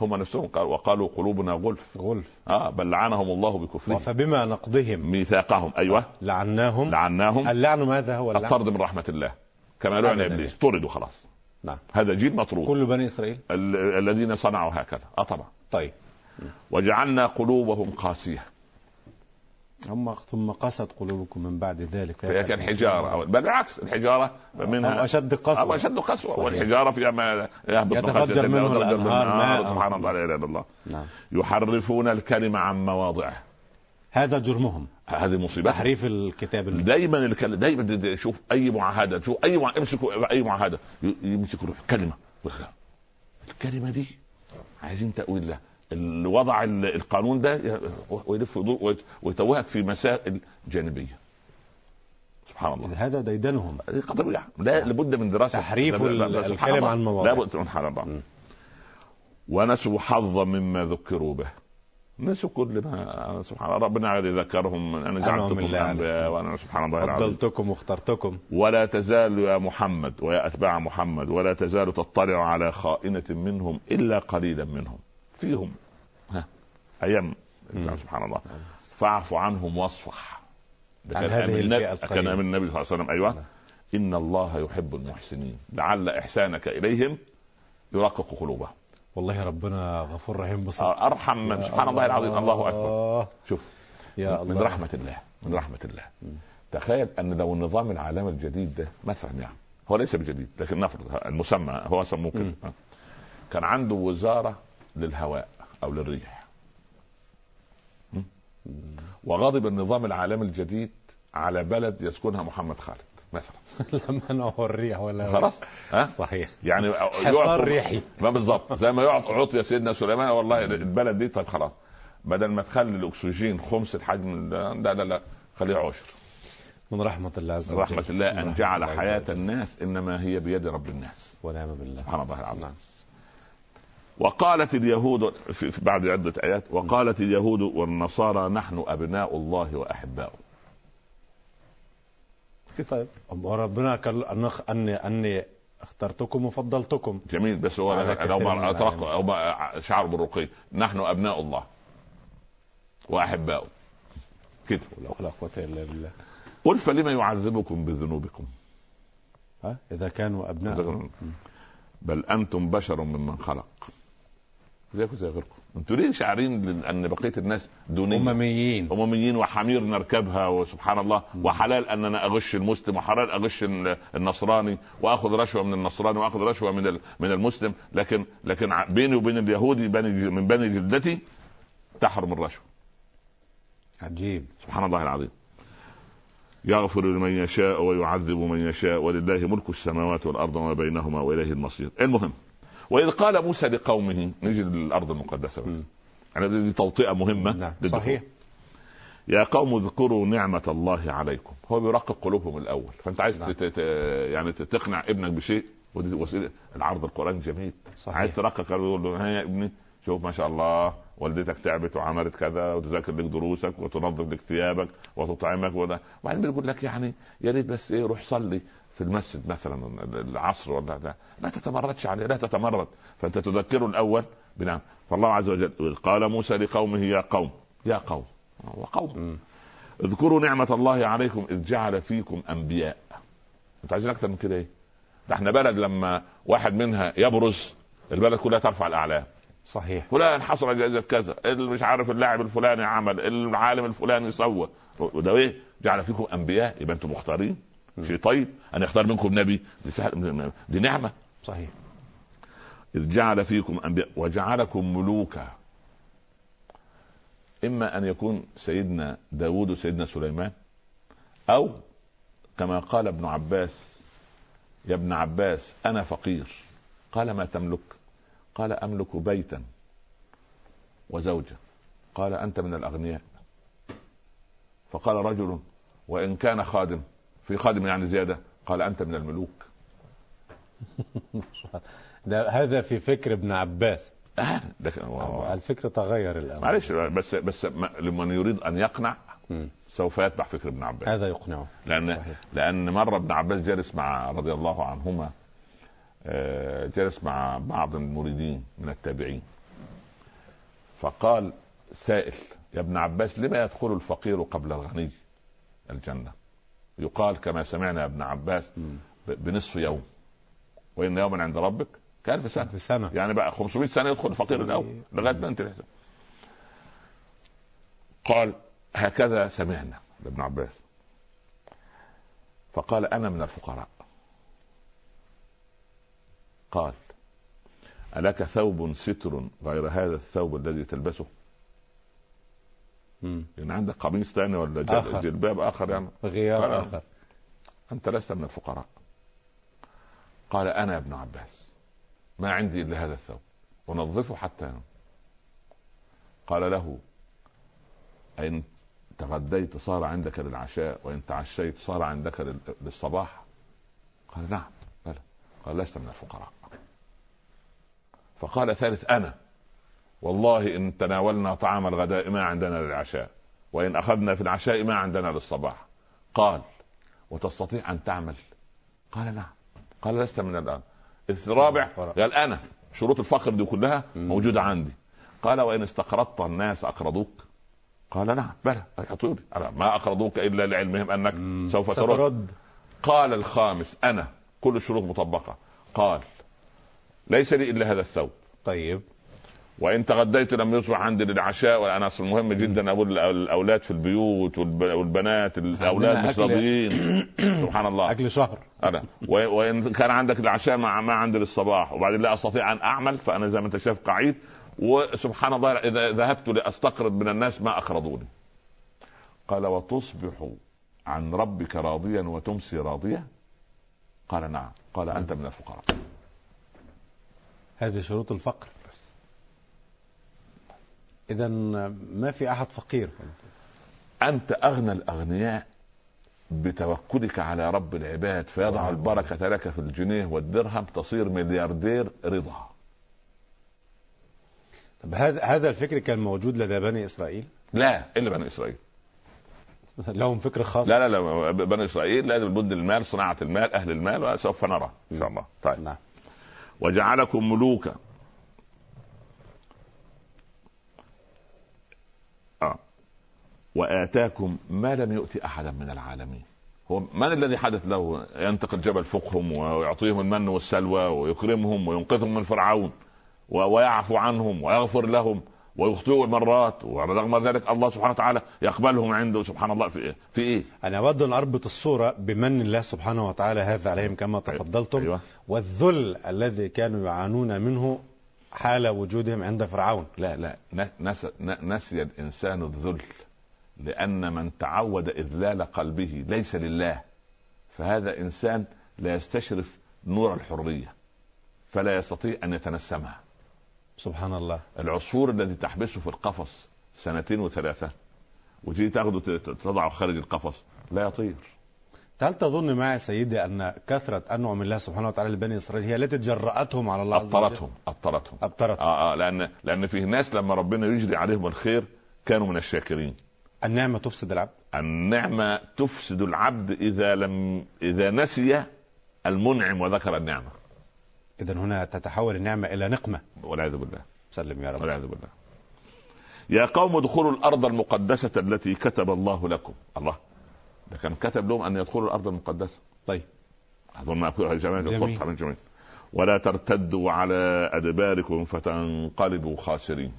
B: هم نفسهم قالوا وقالوا قلوبنا غلف
A: غلف
B: اه بل لعنهم الله بكفرهم
A: فبما نقضهم
B: ميثاقهم ايوه
A: لعناهم
B: لعناهم
A: اللعن ماذا هو اللعن؟
B: الطرد من رحمه الله كما لعن
A: أبداً.
B: ابليس طردوا خلاص
A: نعم
B: هذا جيل مطرود
A: كل بني إسرائيل
B: ال- الذين صنعوا هكذا اه طبعا
A: طيب
B: وجعلنا قلوبهم قاسيه
A: هم ثم قست قلوبكم من بعد ذلك
B: فهي كان حجاره أو بل بالعكس الحجاره
A: أو
B: منها
A: أشد
B: أو
A: قسوة
B: أشد قسوة
A: صحيح.
B: والحجارة فيها ما يهبط من
A: يتفجر
B: خشية الله
A: منه
B: ويتفجر
A: الأنهار
B: الأنهار.
A: ماء.
B: سبحان الله لا إله إلا الله
A: نعم
B: يحرفون الكلم عن مواضعه
A: هذا جرمهم
B: هذه مصيبة
A: تحريف الكتاب الم-
B: دايما الكلام دايما دي- دي- شوف اي معاهده شوف اي مع... امسكوا اي معاهده ي- يمسكوا روح كلمه الكلمه دي عايزين تاويل لها اللي وضع ال- القانون ده ي- ويلف ويدور ويت- ويتوهك في مسائل جانبيه سبحان الله
A: هذا ديدنهم
B: هذه قضيه لا لابد من دراسه
A: نعم. تحريف
B: لا- لا- لا-
A: ال-
B: سبحان
A: الكلم
B: الله.
A: عن مواضعه.
B: لابد سبحان الله
A: م.
B: ونسوا حظا مما ذكروا به نسوا كل ما سبحان الله ربنا الذي ذكرهم من انا جعلتكم
A: بالله عليكم.
B: انبياء وانا سبحان الله العظيم
A: فضلتكم واخترتكم
B: ولا تزال يا محمد ويا اتباع محمد ولا تزال تطلع على خائنه منهم الا قليلا منهم فيهم ها ايام
A: مم.
B: سبحان الله فاعف عنهم واصفح ده
A: عن
B: كان
A: هذه
B: أمر
A: الفئة
B: النبي- كان
A: القليلة.
B: امر النبي صلى الله عليه وسلم ايوه
A: نعم.
B: ان الله يحب المحسنين لعل احسانك اليهم يرقق قلوبهم
A: والله ربنا غفور رحيم بصراحة
B: ارحم من آه، سبحان الله العظيم الله اكبر شوف
A: يا الله
B: من رحمة الله من رحمة الله تخيل أن لو النظام العالمي الجديد ده مثلا يعني هو ليس بجديد لكن نفرض المسمى هو سموه كده
A: مم.
B: آه. كان عنده وزارة للهواء أو للريح مم. وغضب النظام العالمي الجديد على بلد يسكنها محمد خالد مثلا
A: لما نوع الريح ولا
B: خلاص ها
A: صحيح
B: يعني
A: حصار
B: يعطوا-
A: ريحي
B: ما بالظبط زي ما يعط عطي سيدنا سليمان والله البلد دي طب خلاص بدل ما تخلي الاكسجين خمس الحجم ده لا لا لا خليه عشر
A: من رحمة الله عز وجل
B: رحمة الله
A: من
B: أن
A: رحمة
B: جعل
A: الله عز
B: حياة
A: وجل.
B: الناس إنما هي بيد رب الناس
A: ونعم بالله
B: سبحان الله العظيم
A: نعم.
B: وقالت اليهود في في بعد عدة آيات وقالت اليهود والنصارى نحن أبناء الله وأحباؤه
A: طيب وربنا قال أن أني أني اخترتكم وفضلتكم
B: جميل بس هو
A: على كثير
B: لو
A: من
B: ما
A: العالمين.
B: أطلقوا أو ما شعروا بالرقي نحن أبناء الله وأحباؤه كده
A: ولا ولا قوة إلا بالله
B: قل فلما يعذبكم بذنوبكم
A: ها إذا كانوا أبناء
B: بل انتم بشر ممن خلق زيكم زي غيركم انتوا ليه شاعرين لل- ان بقيه الناس دونيه
A: أمميين
B: امميين وحمير نركبها وسبحان الله وحلال ان انا اغش المسلم وحلال اغش ال- النصراني واخذ رشوه من النصراني واخذ رشوه من ال- من المسلم لكن لكن ع- بيني وبين اليهودي بني ج- من بني جلدتي تحرم الرشوه
A: عجيب
B: سبحان الله العظيم يغفر لمن يشاء ويعذب من يشاء ولله ملك السماوات والارض وما بينهما واليه المصير المهم واذ قال موسى لقومه نجي للارض المقدسه بقى.
A: مم.
B: يعني دي دي توطئه مهمه
A: نعم
B: للدخول.
A: صحيح
B: يا قوم اذكروا نعمه الله عليكم هو بيرقق قلوبهم الاول فانت عايز
A: نعم.
B: تت... تت- يعني تقنع ابنك بشيء ودي وسيله العرض القران جميل
A: صحيح
B: عايز ترقق قلبه يقول له ها يا ابني شوف ما شاء الله والدتك تعبت وعملت كذا وتذاكر لك دروسك وتنظف لك ثيابك وتطعمك وده وبعدين بيقول لك يعني يا ريت بس ايه روح صلي في المسجد مثلا العصر ولا ده ما تتمردش عليه لا تتمرد فانت تذكره الاول بنعم فالله عز وجل إذ قال موسى لقومه يا قوم يا قوم وقوم
A: مم.
B: اذكروا نعمة الله عليكم إذ جعل فيكم أنبياء أنتوا عايزين أكتر من كده إيه؟ ده احنا بلد لما واحد منها يبرز البلد كلها ترفع الأعلام
A: صحيح
B: فلان حصل على جائزة كذا اللي مش عارف اللاعب الفلاني عمل العالم الفلاني سوى وده إيه؟ جعل فيكم أنبياء يبقى أنتم مختارين شيء طيب أن يختار منكم نبي دي, سهل دي نعمة
A: صحيح
B: إذ جعل فيكم أنبياء وجعلكم ملوكا إما أن يكون سيدنا داود وسيدنا سليمان أو كما قال ابن عباس يا ابن عباس أنا فقير قال ما تملك قال أملك بيتا وزوجة قال أنت من الأغنياء فقال رجل وإن كان خادم في خادم يعني زيادة قال أنت من الملوك
A: ده هذا في فكر ابن عباس
B: ده كان-
A: الفكر تغير الآن
B: آه. معلش بس بس ما- لمن يريد أن يقنع
A: مم.
B: سوف يتبع فكر ابن عباس
A: هذا يقنعه
B: لان
A: صحيح.
B: لان مره ابن عباس جالس مع رضي الله عنهما آه، جالس مع بعض المريدين من التابعين فقال سائل يا ابن عباس لما يدخل الفقير قبل الغني الجنه يقال كما سمعنا يا ابن عباس
A: مم.
B: ب- بنصف يوم وان يوما عند ربك كالف سنه
A: في سنة
B: يعني بقى 500 سنه يدخل الفقير الاول لغايه ما ينتهي الحساب. قال هكذا سمعنا لابن عباس فقال انا من الفقراء قال الك ثوب ستر غير هذا الثوب الذي تلبسه
A: مم.
B: يعني عندك قميص ثاني ولا جل-
A: آخر.
B: جلباب اخر يعني
A: غيار
B: آه.
A: آخر
B: انت لست من الفقراء قال انا يا ابن عباس ما عندي الا هذا الثوب انظفه حتى ينم قال له ان تغديت صار عندك للعشاء وان تعشيت صار عندك لل- للصباح قال نعم بلى قال لست من الفقراء فقال ثالث انا والله ان تناولنا طعام الغداء ما عندنا للعشاء وان اخذنا في العشاء ما عندنا للصباح قال وتستطيع ان تعمل قال نعم قال لست من الان الرابع قال انا شروط الفقر دي كلها موجوده عندي قال وان استقرضت الناس اقرضوك قال نعم بلى يعطوني أنا ما اقرضوك الا لعلمهم انك سوف ترد
A: سترد
B: قال الخامس انا كل الشروط مطبقه قال ليس لي الا هذا الثوب
A: طيب
B: وان تغديت لم يصبح عندي للعشاء وانا اصل مهم جدا اقول الأ- الاولاد في البيوت والب- والبنات الاولاد
A: عندنا
B: مش
A: أكل.
B: راضيين سبحان الله
A: أكل شهر
B: انا و- وان كان عندك العشاء مع ما عندي للصباح وبعدين لا استطيع ان اعمل فانا زي ما انت شايف قعيد وسبحان الله اذا ذهبت لاستقرض من الناس ما اقرضوني قال وتصبح عن ربك راضيا وتمسي راضيه قال نعم قال انت من الفقراء
A: هذه شروط الفقر إذا ما في أحد فقير
B: انت اغنى الاغنياء بتوكلك على رب العباد فيضع
A: طبعاً.
B: البركه لك في الجنيه والدرهم تصير ملياردير رضا
A: طب هذا هذا الفكر كان موجود لدى بني إسرائيل
B: لا الا بني اسرائيل
A: لهم فكر خاص
B: لا لا لا بني اسرائيل لازم بد المال صناعه المال اهل المال وسوف نرى ان شاء الله طيب
A: نعم
B: وجعلكم ملوكا آه. واتاكم ما لم يؤت احدا من العالمين هو من الذي حدث له ينتقل جبل فوقهم ويعطيهم المن والسلوى ويكرمهم وينقذهم من فرعون و- ويعفو عنهم ويغفر لهم ويخطئوا مرات ورغم ذلك الله سبحانه وتعالى يقبلهم عنده سبحان الله في ايه؟ في ايه؟
A: أنا أود أن أربط الصورة بمن الله سبحانه وتعالى هذا عليهم كما تفضلتم
B: أيوة.
A: والذل الذي كانوا يعانون منه حال وجودهم عند فرعون
B: لا لا ن- نسى, ن- نسي الانسان الذل لان من تعود اذلال قلبه ليس لله فهذا انسان لا يستشرف نور الحريه فلا يستطيع ان يتنسمها
A: سبحان الله
B: العصفور الذي تحبسه في القفص سنتين وثلاثه وتيجي تاخده ت- ت- تضعه خارج القفص لا يطير
A: هل تظن معي سيدي أن كثرة أنعم الله سبحانه وتعالى لبني إسرائيل هي التي جرأتهم على الله عز وجل؟
B: ابطرتهم ابطرتهم
A: أبطرتهم
B: اه اه لان لان فيه ناس لما ربنا يجري عليهم الخير كانوا من الشاكرين
A: النعمة تفسد العبد
B: النعمة تفسد العبد إذا لم إذا نسي المنعم وذكر النعمة
A: إذا هنا تتحول النعمة إلى نقمة
B: والعياذ بالله
A: سلم يا رب
B: والعياذ بالله يا قوم ادخلوا الأرض المقدسة التي كتب الله لكم الله ده كان كتب لهم أن يدخلوا الأرض المقدسة
A: طيب
B: أظن أقولها جميل
A: جميل.
B: القدس من جميل ولا ترتدوا على أدباركم فتنقلبوا خاسرين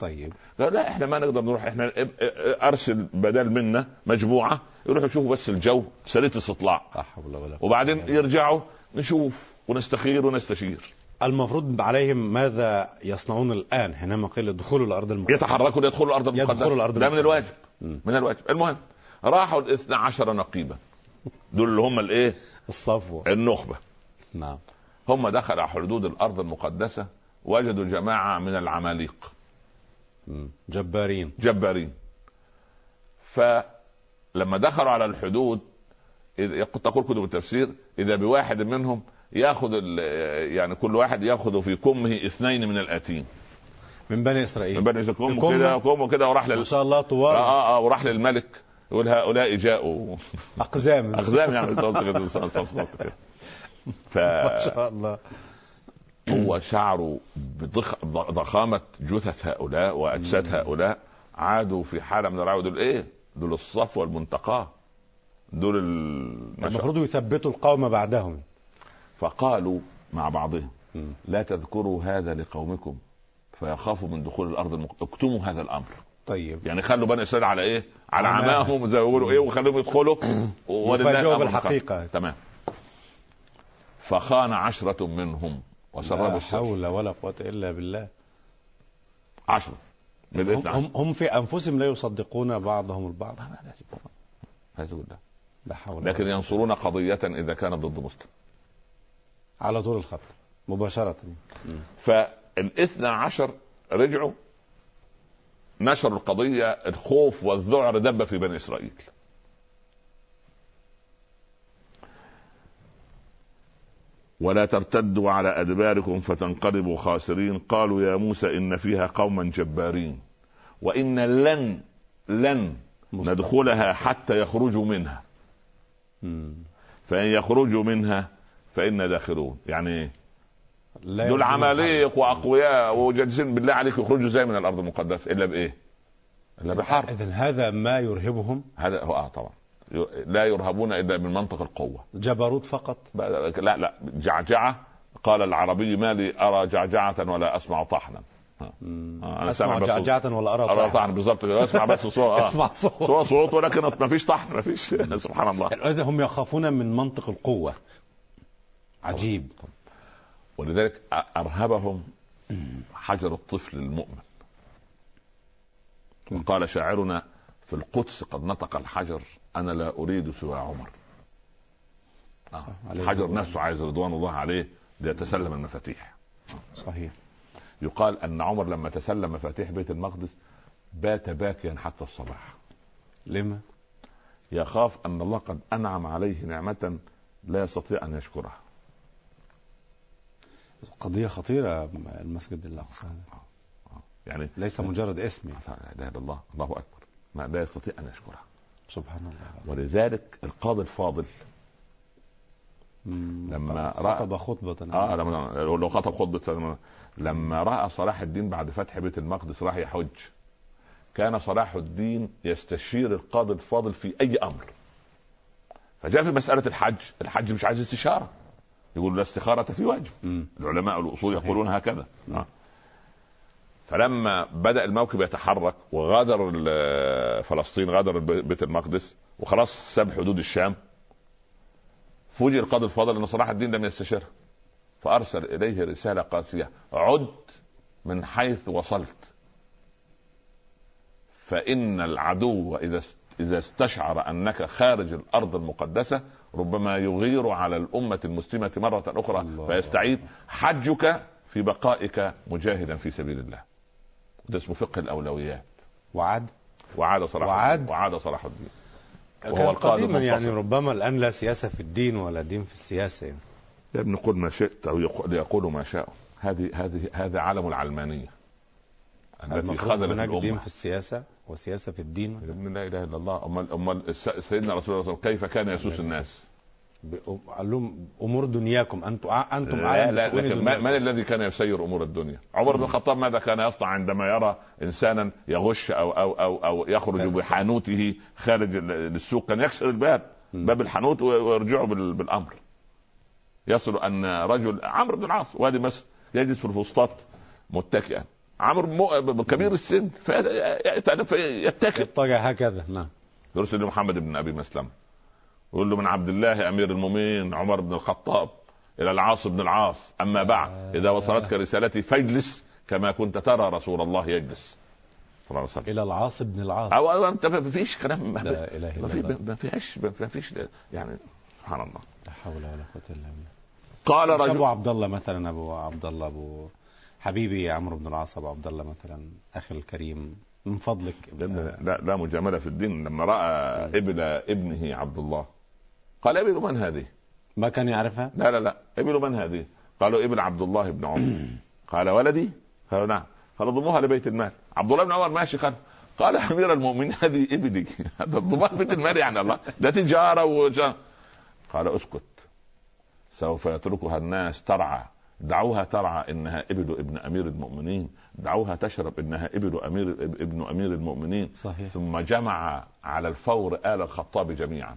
A: طيب
B: لا, لا احنا ما نقدر نروح احنا اب- اه- ارسل بدل منا مجموعه يروحوا يشوفوا بس الجو سريه استطلاع
A: لا حول ولا قوة
B: وبعدين
A: إلا بالله.
B: يرجعوا نشوف ونستخير ونستشير
A: المفروض عليهم ماذا يصنعون الان حينما قيل دخولوا الارض المقدسه
B: يتحركون يدخلوا الارض المقدسه
A: يدخلوا الأرض
B: ده من
A: المقدسة.
B: الواجب
A: مم.
B: من الواجب المهم راحوا الاثنى عشر نقيبا دول اللي هم الايه
A: الصفوه
B: النخبه
A: نعم
B: هم دخلوا على حدود الارض المقدسه وجدوا جماعه من العماليق
A: مم. جبارين
B: جبارين فلما دخلوا على الحدود إذ- تقول كتب التفسير اذا بواحد منهم ياخذ ال- يعني كل واحد ياخذ في كمه اثنين من الاتين
A: من بني اسرائيل
B: من بني إسرائيل، كمه
A: الكمة.
B: كده كمه كده وراح لل...
A: ما شاء الله
B: اه
A: طوال
B: اه اه وراح للملك يقول هؤلاء جاءوا
A: اقزام
B: اقزام يعني بالظبط كده بالظبط كده
A: ما
B: فهو
A: شاء الله
B: شعروا بضخ... ضخامه جثث هؤلاء واجساد هؤلاء عادوا في حاله من الرعب دول ايه؟ دول الصفوه المنتقاه دول ال- ما شاء-
A: المفروض يثبتوا القوم بعدهم
B: فقالوا مع بعضهم
A: مم.
B: لا تذكروا هذا لقومكم فيخافوا من دخول الارض المق... اكتموا هذا الامر
A: طيب
B: يعني خلوا بني اسرائيل على ايه؟ على
A: عماهم.
B: عماهم زي ما بيقولوا ايه وخلوهم يدخلوا ولله
A: يفاجئوا
B: الأمر الخفي.
A: بالحقيقة.
B: تمام فخان عشرة منهم وسربوا
A: لا
B: السر
A: حول ولا قوه الا بالله
B: عشرة من
A: هم,
B: الاثنى عشر.
A: نعم. هم- هم في انفسهم لا يصدقون بعضهم البعض
B: هذا يقول لا.
A: لا حول
B: لكن
A: لكن
B: ينصرون قضية إذا كانت ضد مسلم
A: على طول الخط مباشره
B: فالاثنى عشر رجعوا نشروا القضية الخوف والذعر دب في بني إسرائيل ولا ترتدوا على أدباركم فتنقلبوا خاسرين قالوا يا موسى إن فيها قوما جبارين وإن لن لن
A: مصطفى.
B: ندخلها حتى يخرجوا منها
A: مم.
B: فإن يخرجوا منها فإنا داخلون يعني إيه؟
A: لا
B: دول
A: يمكن
B: عماليق
A: الحرب.
B: واقوياء وجالسين بالله عليك يخرجوا ازاي من الارض المقدسه الا بايه؟ الا بحرب
A: اذا هذا ما يرهبهم
B: هذا هو اه طبعا ي- لا يرهبون الا من منطق القوه
A: جبروت فقط
B: بقى- لا لا جعجعه قال العربي ما لي ارى جعجعه ولا اسمع طحنا
A: مم.
B: آه، أنا سامع
A: اسمع
B: بس صوت.
A: جعجعه ولا ارى
B: ارى
A: طاحا.
B: طحنا بالظبط كده، اسمع بس صوت اه
A: اسمع صوت
B: صوت صوت ولكن ما فيش طحن ما فيش سبحان الله
A: اذا هم يخافون من منطق القوه عجيب
B: ولذلك أ- ارهبهم حجر الطفل المؤمن وقال شاعرنا في القدس قد نطق الحجر انا لا اريد سوى عمر آه،
A: عليه
B: الحجر
A: رضوان.
B: نفسه عايز رضوان الله عليه ليتسلم المفاتيح
A: صحيح
B: يقال ان عمر لما تسلم مفاتيح بيت المقدس بات باكيا حتى الصباح
A: لما
B: يخاف ان الله قد انعم عليه نعمه لا يستطيع ان يشكرها
A: قضيه خطيره المسجد الاقصى هذا
B: يعني
A: ليس مجرد اسم يعني.
B: لا اله الا الله الله اكبر ما لا يستطيع ان يشكرها
A: سبحان الله
B: ولذلك القاضي الفاضل
A: مم.
B: لما رأى-
A: خطب خطبه
B: اه لما لو لو خطب خطبه سلمان. لما راى صلاح الدين بعد فتح بيت المقدس راح يحج كان صلاح الدين يستشير القاضي الفاضل في اي امر فجاء في مساله الحج الحج مش عايز استشاره يقول لا استخاره في وجه
A: مم.
B: العلماء الاصول
A: صحيح.
B: يقولون هكذا
A: نعم.
B: آه. فلما بدا الموكب يتحرك وغادر ال- فلسطين غادر الب- بيت المقدس وخلاص ساب حدود الشام فوجئ القاضي الفاضل ان صلاح الدين لم يستشره فارسل اليه رساله قاسيه عد من حيث وصلت فان العدو اذا است- اذا استشعر انك خارج الارض المقدسه ربما يغير على الامه المسلمه مره اخرى
A: الله.
B: فيستعيد حجك في بقائك مجاهدا في سبيل الله ده اسمه فقه الاولويات
A: وعد
B: وعاد صلاح
A: وعد.
B: الدين وعاد صلاح الدين
A: وهو
B: القائد
A: قديما يعني
B: المنتصر.
A: ربما الان لا سياسه في الدين ولا دين في السياسه يعني.
B: يا ابن قل ما شئت او يق- ليقولوا ما شاءوا هذه هذه هذا علم العلمانيه التي
A: المفروض
B: خذلت
A: هناك دين
B: الامه
A: في السياسه وسياسه في الدين
B: يا ابن لا اله الا الله امال امال الس- سيدنا رسول الله صلى الله عليه وسلم كيف كان يسوس الناس؟
A: ب- قال لهم امور دنياكم انتم انتم
B: لا
A: اعلم
B: لا
A: بشؤون
B: لكن ما-
A: دنياكم.
B: من الذي كان يسير امور الدنيا؟ عمر بن الخطاب ماذا كان يصنع عندما يرى انسانا يغش او او او او يخرج
A: بلى.
B: بحانوته خارج ال- للسوق كان يكسر الباب
A: مم.
B: باب الحانوت وي- ويرجعه بال- بالامر. يصل ان رجل عمرو بن العاص وادي مصر يجلس في الفسطاط متكئا عمرو مو- كبير السن فيتكئ
A: اتجه هكذا نعم
B: يرسل لمحمد بن ابي مسلمه يقول له من عبد الله امير المؤمنين عمر بن الخطاب إلى العاص بن العاص أما بعد إذا
A: آه.
B: وصلتك رسالتي فاجلس كما كنت ترى رسول الله يجلس صلى الله عليه وسلم
A: الى العاص بن العاص
B: او أو انت ما فيش كلام ما
A: لا اله
B: ما
A: الا
B: في
A: الله
B: ما فيهاش ما فيش يعني سبحان الله
A: لا حول ولا قوه الا بالله
B: قال
A: مش ابو
B: رجل
A: عبد الله مثلا ابو عبد الله ابو حبيبي عمرو بن العاص ابو عبد الله مثلا اخي الكريم من فضلك
B: لا لا- لا مجامله في الدين لما راى
A: مم.
B: ابن ابنه عبد الله قال ابن من هذه؟
A: ما كان يعرفها
B: لا لا لا ابن من هذه؟ قالوا ابن عبد الله بن عمر قال ولدي؟ قالوا نعم قال ضموها لبيت المال عبد الله بن عمر ماشي خد قال يا امير المؤمنين هذه ابني هذا ضمها في بيت المال يعني الله ده تجاره وجاره قال اسكت سوف يتركها الناس ترعى دعوها ترعى انها ابن ابن امير المؤمنين دعوها تشرب انها ابن امير ابن امير المؤمنين
A: صحيح
B: ثم جمع على الفور آل الخطاب جميعا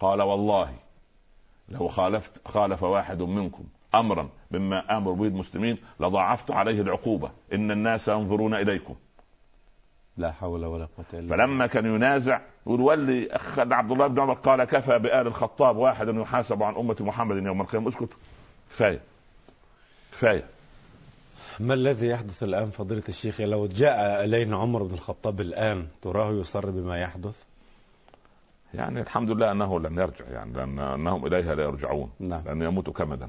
B: قال والله لو خالفت خالف واحد منكم أمرا مما أمر به المسلمين لضاعفت عليه العقوبة إن الناس ينظرون إليكم
A: لا حول ولا قوه الا بالله
B: فلما كان ينازع يقول ولي أخ عبد الله بن عمر قال كفى بآل الخطاب واحدا يحاسب عن أمة محمد يوم القيامة اسكت كفاية كفاية
A: ما الذي يحدث الآن فضيلة الشيخ لو جاء إلينا عمر بن الخطاب الآن تراه يصر بما يحدث
B: يعني الحمد لله أنه لن يرجع يعني لأن أنهم إليها لا يرجعون
A: نعم
B: لأن يموت كمدا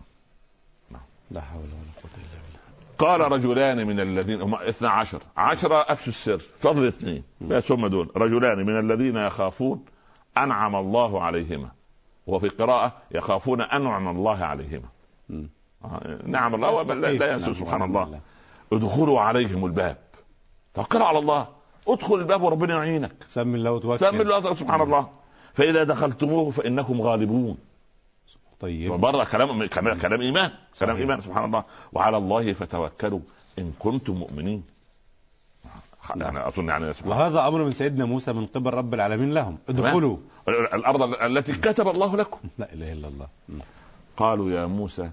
A: لا حول ولا قوة إلا بالله
B: قال رجلان من الذين هم اثنا عشر عشرة أفشوا السر فضل اثنين بس هم دول رجلان من الذين يخافون أنعم الله عليهما وفي قراءة يخافون أنعم الله عليهما
A: مم.
B: آه، نعم الله وبل- لا, لا ينسوا
A: نعم،
B: سبحان
A: نعم،
B: الله
A: نعم.
B: ادخلوا عليهم الباب توكل على الله ادخل الباب وربنا يعينك
A: سمي الله وتوكل
B: سمي الله سبحان الله فإذا دخلتموه فإنكم غالبون
A: طيب
B: بره كلام كلام كلام ايمان كلام
A: صحيح.
B: ايمان سبحان الله وعلى الله فتوكلوا ان كنتم مؤمنين يعني اظن يعني سبحان
A: وهذا أمر من سيدنا موسى من قبل رب العالمين لهم ادخلوا
B: الله. الارض التي كتب الله لكم
A: لا إله إلا الله مم.
B: قالوا يا موسى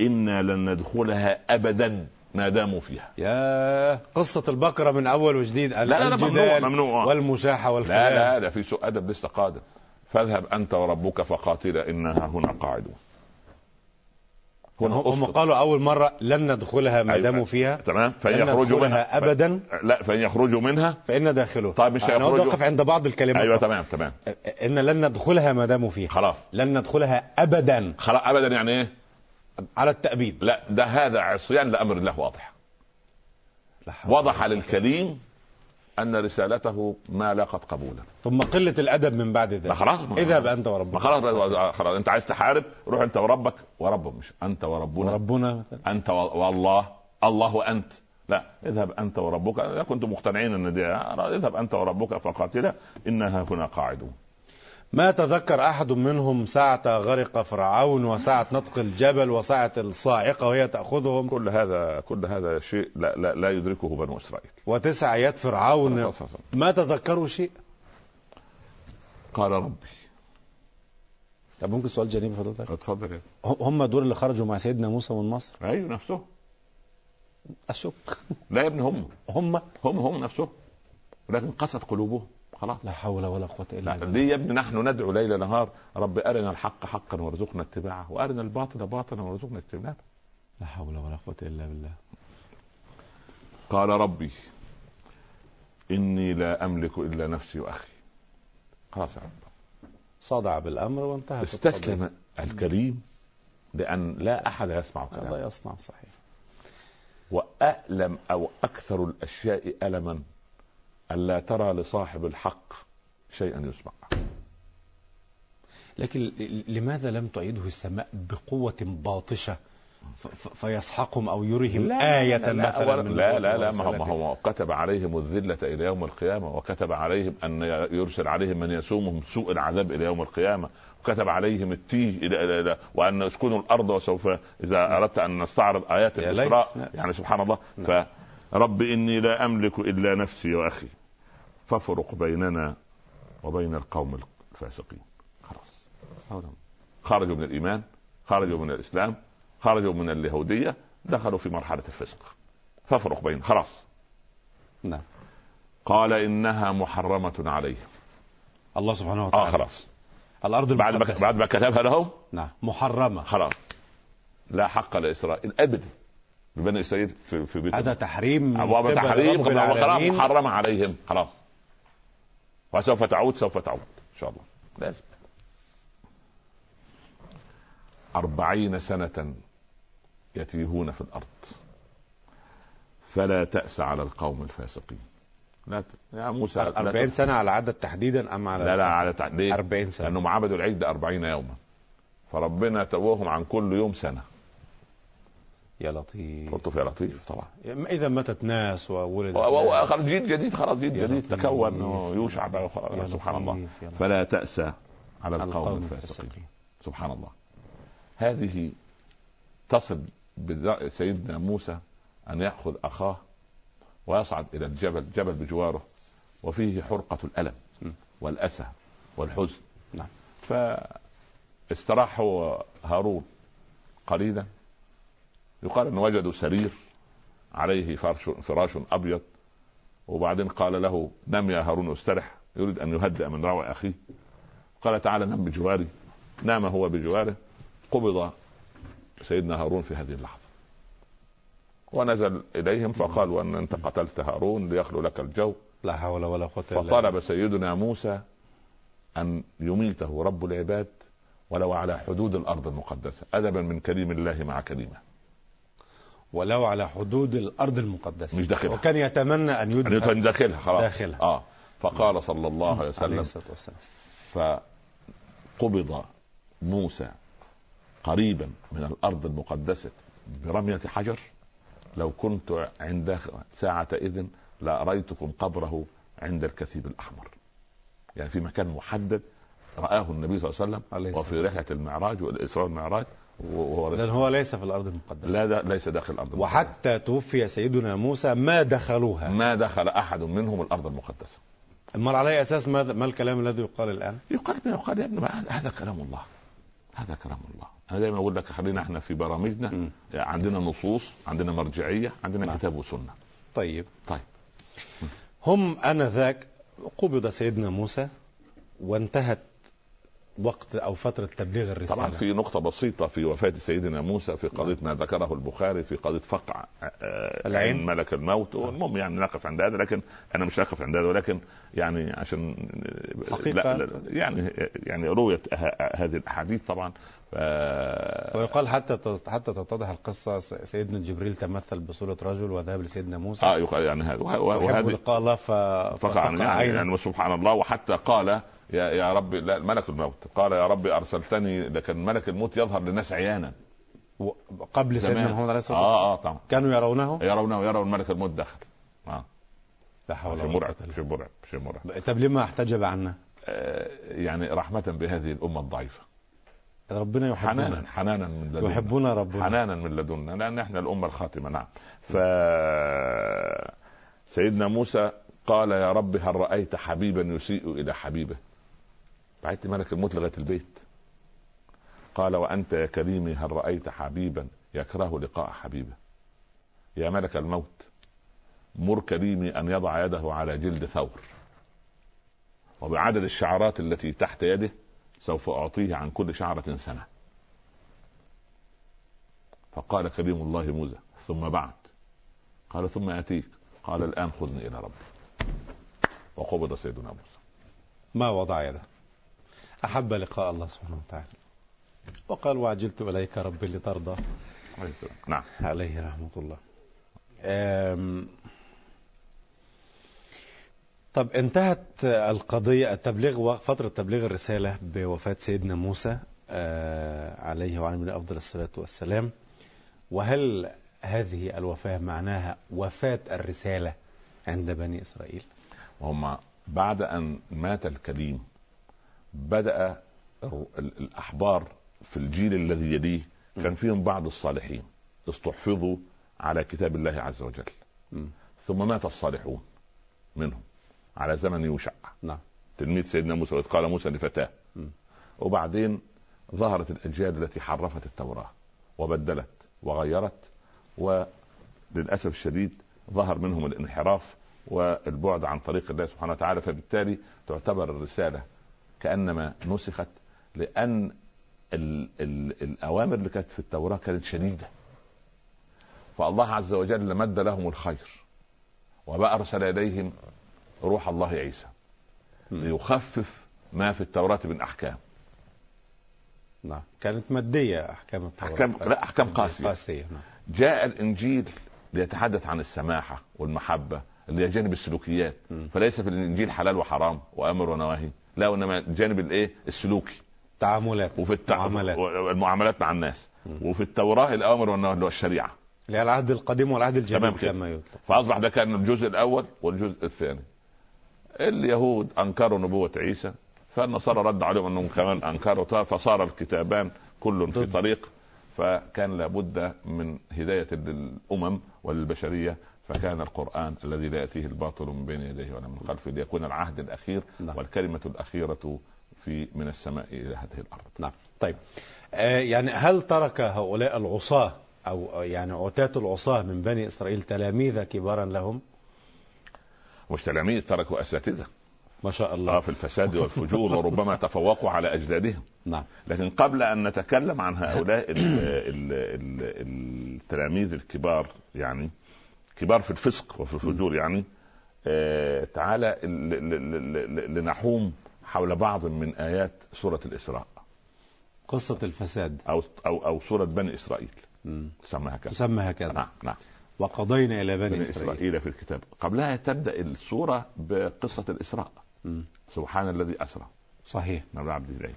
B: انا لن ندخلها ابدا ما داموا فيها
A: يا قصة البقرة من أول وجديد لا
B: لا، لا،
A: الجدال
B: ممنوع، ممنوع.
A: والمشاحة
B: لا
A: والخلاف
B: لا ده في سوء ادب لسه قادم فاذهب انت وربك فقاتلا انها هنا قاعدون
A: هم هم
B: أسقط.
A: قالوا أول مرة لن ندخلها ما
B: أيوة.
A: داموا فيها
B: تمام فان
A: لن
B: يخرجوا
A: ندخلها
B: منها
A: أبدا
B: لا فان يخرجوا منها
A: فإن داخله
B: طيب مش
A: أنا
B: هيخرجوا.
A: أتوقف عند بعض الكلمات
B: ايوه تمام تمام
A: ان لن ندخلها ما داموا فيها
B: خلاص
A: لن ندخلها ابدا
B: خلاص ابدا يعني ايه
A: على التابيد
B: لا ده هذا عصيان لامر الله واضح وضح للكريم ان رسالته ما لاقت قبولا
A: ثم قله الادب من بعد
B: ما
A: ذلك
B: خلاص ما
A: اذهب انت
B: ما
A: وربك
B: خلاص خلاص انت عايز تحارب روح انت وربك وربك مش انت وربنا
A: وربنا مثلا
B: انت و- والله الله وانت لا اذهب انت وربك انا كنت مقتنعين ان دي اذهب انت وربك فقاتلا انها هنا قاعدون
A: ما تذكر احد منهم ساعه غرق فرعون وساعه نطق الجبل وساعه الصاعقه وهي تاخذهم
B: كل هذا كل هذا شيء لا لا, لا يدركه بنو اسرائيل
A: وتسع يد فرعون ما تذكروا شيء
B: قال ربي
A: طب ممكن سؤال جانبي حضرتك
B: اتفضل يا
A: هم دول اللي خرجوا مع سيدنا موسى من مصر
B: ايوه نفسه
A: اشك
B: لا يا ابني هم
A: هم
B: هم هم نفسهم لكن قست قلوبهم خلاص
A: لا حول ولا قوه الا
B: لا
A: بالله
B: ليه يا ابني نحن ندعو ليل نهار رب ارنا الحق حقا وارزقنا اتباعه وارنا الباطل باطلا وارزقنا اجتنابه
A: لا حول ولا قوه الا بالله
B: قال ربي اني لا املك الا نفسي واخي خلاص يا رب
A: صدع بالامر وانتهى
B: استسلم الكريم لان لا احد يسمع كلامه
A: الله يصنع صحيح
B: والم او اكثر الاشياء الما الا ترى لصاحب الحق شيئا يسمع
A: لكن ل- لماذا لم تعيده السماء بقوة باطشة ف- ف- فيسحقهم أو يرهم آية
B: لا لا,
A: مثلا
B: ولا-
A: من
B: لا,
A: قوة
B: لا, لا ما هو ما
A: ورسالته؟
B: هو كتب عليهم الذلة إلى يوم القيامة وكتب عليهم أن يرسل عليهم من يسومهم سوء العذاب إلى يوم القيامة وكتب عليهم التيه إلى إلى إلى وأن اسكنوا الأرض وسوف إذا أردت أن نستعرض آيات
A: يا ليت.
B: الإسراء
A: نعم.
B: يعني سبحان الله
A: نعم.
B: فرب إني لا أملك إلا نفسي وأخي فافرق بيننا وبين القوم الفاسقين خلاص خرجوا من الإيمان خرجوا من الإسلام خرجوا من اليهودية دخلوا في مرحلة الفسق فافرق بين خلاص
A: نعم
B: قال انها محرمه عليهم
A: الله سبحانه
B: اه
A: وتعالى
B: خلاص
A: الأرض
B: بعد ما
A: المقدسة
B: بعد ما كتبها لهم
A: نعم محرمة
B: خلاص لا حق لاسرائيل ابدا لبني اسرائيل في في بيت
A: هذا تحريم
B: ابواب
A: قبل
B: تحريم
A: رب
B: وحرام
A: العالمين.
B: حرم عليهم حرام وسوف تعود سوف تعود ان شاء الله لازم أربعين سنة يتيهون في الأرض فلا تأس على القوم الفاسقين لا ت... يا موسى لا ت-
A: 40 نعم. سنة على العدد تحديدا أم على
B: لا لا على تع... ليه؟
A: 40 سنة
B: لأنهم عبدوا العجل 40 يوما فربنا توهم عن كل يوم سنة
A: يا لطيف
B: لطف يا لطيف طبعا
A: إذا ماتت ناس وولد
B: و- و- وخلاص جيل جديد خلاص جيل
A: يا
B: جديد يعني.
A: لطيف.
B: تكون ويوشع بقى
A: يا
B: وخلاص سبحان
A: لطيف،
B: الله
A: يا لطيف.
B: فلا تأس على
A: القوم
B: القوم الفاسقين
A: الفاسقين
B: سبحان الله هذه تصل برأي سيدنا موسى أن يأخذ أخاه ويصعد إلى الجبل جبل بجواره وفيه حرقة الألم
A: م.
B: والأسى والحزن
A: نعم.
B: فاستراح هو هارون قليلا يقال أن وجدوا سرير عليه فرش فراش أبيض وبعدين قال له نم يا هارون واسترح يريد أن يهدئ من روع أخيه قال تعالى نم بجواري نام هو بجواره قبض سيدنا هارون في هذه اللحظة ونزل إليهم فقالوا أن أنت قتلت هارون ليخلو لك الجو
A: لا حول ولا قوة إلا بالله.
B: فطلب سيدنا موسى أن يميته رب العباد ولو على حدود الأرض المقدسة أدبا من كريم الله مع كريمه
A: ولو على حدود الأرض المقدسة
B: مش داخلها.
A: وكان يتمنى أن
B: يعني
A: يدفع
B: أنت داخلها خلاص
A: داخلها.
B: آه فقال صلى الله عليه
A: عليه
B: وسلم
A: الصلاة والسلام
B: فقبض موسى قريبا من الارض المقدسه برميه حجر لو كنت عند ساعه اذن لاريتكم قبره عند الكثيب الاحمر يعني في مكان محدد رآه النبي صلى الله عليه
A: عليه
B: وسلم وفي رحلة المعراج والإسراء والمعراج وهو
A: إذن هو ليس في الأرض المقدسة
B: لا دا ليس داخل الأرض المقدسة.
A: وحتى توفي سيدنا موسى ما دخلوها
B: ما دخل أحد منهم الأرض المقدسة
A: أمال على أي أساس ماذا ما الكلام الذي يقال الآن
B: يقال ما يقال يا ابني ما هذا- هذا كلام الله هذا كلام الله انا دايما اقول لك خلينا احنا في برامجنا
A: مم.
B: عندنا نصوص عندنا مرجعيه عندنا
A: نعم.
B: كتاب وسنه
A: طيب
B: طيب
A: هم آنذاك قبض سيدنا موسى وانتهت وقت أو فترة تبليغ الرسالة
B: طبعا في نقطه بسيطه في وفاه سيدنا موسى في قضيه ما ذكره البخاري في قضيه فقع آه،
A: نعم. العين. نعم.
B: عين ملك الموت المهم يعني نقف عند هذا لكن انا مش هقف عند هذا ولكن يعني عشان آه،
A: حقيقة.
B: لا لا يعني يعني رويت ه- هذه الاحاديث طبعا آه،
A: ويقال حتى تت- حتى تتضح القصة س- سيدنا جبريل تمثل بصورة رجل وذهب لسيدنا موسى
B: اه يقال يعني هذا وه- وه-
A: وحب
B: وهذه
A: لقاء الله ف...
B: فقع يعني,
A: عينا.
B: يعني سبحان الله وحتى قال يا يا رب لا ملك الموت قال يا رب ارسلتني لكن ملك الموت يظهر للناس عيانا
A: و- قبل سيدنا
B: زمان.
A: محمد عليه الصلاة والسلام
B: اه اه طبعا
A: كانوا يرونه
B: يرونه يرون ملك الموت دخل اه
A: لا حول
B: شيء
A: ولا قوة
B: مرعب
A: إلا
B: شيء مرعب شيء مرعب
A: بالله. طب لما احتجب عنا؟
B: آه يعني رحمه بهذه الامه الضعيفه
A: ربنا يحبنا
B: حنانا حنانا من لدنا
A: يحبنا ربنا
B: حنانا من لدنا لان احنا الامه الخاتمه نعم ف سيدنا موسى قال يا رب هل رايت حبيبا يسيء الى حبيبه بعت ملك الموت لغايه البيت قال وانت يا كريمي هل رايت حبيبا يكره لقاء حبيبه يا ملك الموت مر كريمي ان يضع يده على جلد ثور وبعدد الشعرات التي تحت يده سوف اعطيه عن كل شعره سنه فقال كريم الله موسى ثم بعد قال ثم اتيك قال الان خذني الى ربي وقبض سيدنا موسى
A: ما وضع يده أحب لقاء الله سبحانه وتعالى وقال وعجلت إليك ربي لترضى
B: عليه السلام. نعم
A: عليه رحمة الله أم... طب انتهت القضية التبليغ وفترة تبليغ الرسالة بوفاة سيدنا موسى آه، عليه وعلى من أفضل الصلاة والسلام وهل هذه الوفاة معناها وفاة الرسالة عند بني إسرائيل
B: وهم بعد ان مات الكريم بدا ال- ال- الاحبار في الجيل الذي يليه كان فيهم بعض الصالحين استحفظوا على كتاب الله عز وجل
A: مم.
B: ثم مات الصالحون منهم على زمن يوشع
A: نعم
B: تلميذ سيدنا موسى واذ قال موسى لفتاه
A: م.
B: وبعدين ظهرت الاجيال التي حرفت التوراه وبدلت وغيرت وللاسف الشديد ظهر منهم الانحراف والبعد عن طريق الله سبحانه وتعالى فبالتالي تعتبر الرساله كانما نسخت لان ال ال الاوامر اللي كانت في التوراه كانت شديده فالله عز وجل مد لهم الخير وما ارسل اليهم روح الله عيسى ليخفف ما في التوراه من احكام
A: نعم كانت مادية أحكام التوراة
B: أحكام- لا، أحكام قاسية.
A: قاسية نعم
B: جاء الانجيل ليتحدث عن السماحه والمحبه اللي هي جانب السلوكيات
A: مم.
B: فليس في الانجيل حلال وحرام وامر ونواهي لا وانما جانب الايه السلوكي
A: تعاملات
B: وفي التع...
A: معاملات.
B: المعاملات مع الناس
A: مم.
B: وفي التوراه الاوامر والنواهي اللي هو الشريعه
A: اللي هي العهد القديم والعهد
B: تمام
A: الجديد
B: كده.
A: لما يطلق
B: فاصبح ده كان الجزء الاول والجزء الثاني اليهود انكروا نبوه عيسى فالنصارى رد عليهم انهم كمان انكروا طا- فصار الكتابان كل في
A: ضد.
B: طريق فكان لابد من هدايه للامم وللبشريه فكان القران الذي لا ياتيه الباطل من بين يديه ولا من خلفه ليكون العهد الاخير
A: نعم.
B: والكلمه الاخيره في من السماء الى هذه الارض
A: نعم طيب آه يعني هل ترك هؤلاء العصاة أو أو يعني عتاة العصاة من بني إسرائيل تلاميذ كبارا لهم
B: مش تلاميذ تركوا اساتذه
A: ما شاء
B: آه،
A: الله
B: في الفساد والفجور وربما تفوقوا على اجدادهم
A: نعم
B: لكن قبل ان نتكلم عن هؤلاء ال ال ال التلاميذ الكبار يعني كبار في الفسق وفي الفجور يعني آه تعالى ل- ل- ل- ل- لنحوم حول بعض من ايات سوره الاسراء
A: قصة الفساد
B: او او او سوره بني اسرائيل
A: مم.
B: تسمى هكذا
A: تسمى هكذا
B: نعم نعم
A: وقضينا إلى بني,
B: بني
A: إسرائيل
B: اسرائيل في الكتاب قبلها تبدا السوره بقصه الاسراء
A: مم.
B: سبحان الذي اسرى
A: صحيح
B: من أبي نعم، عبد الله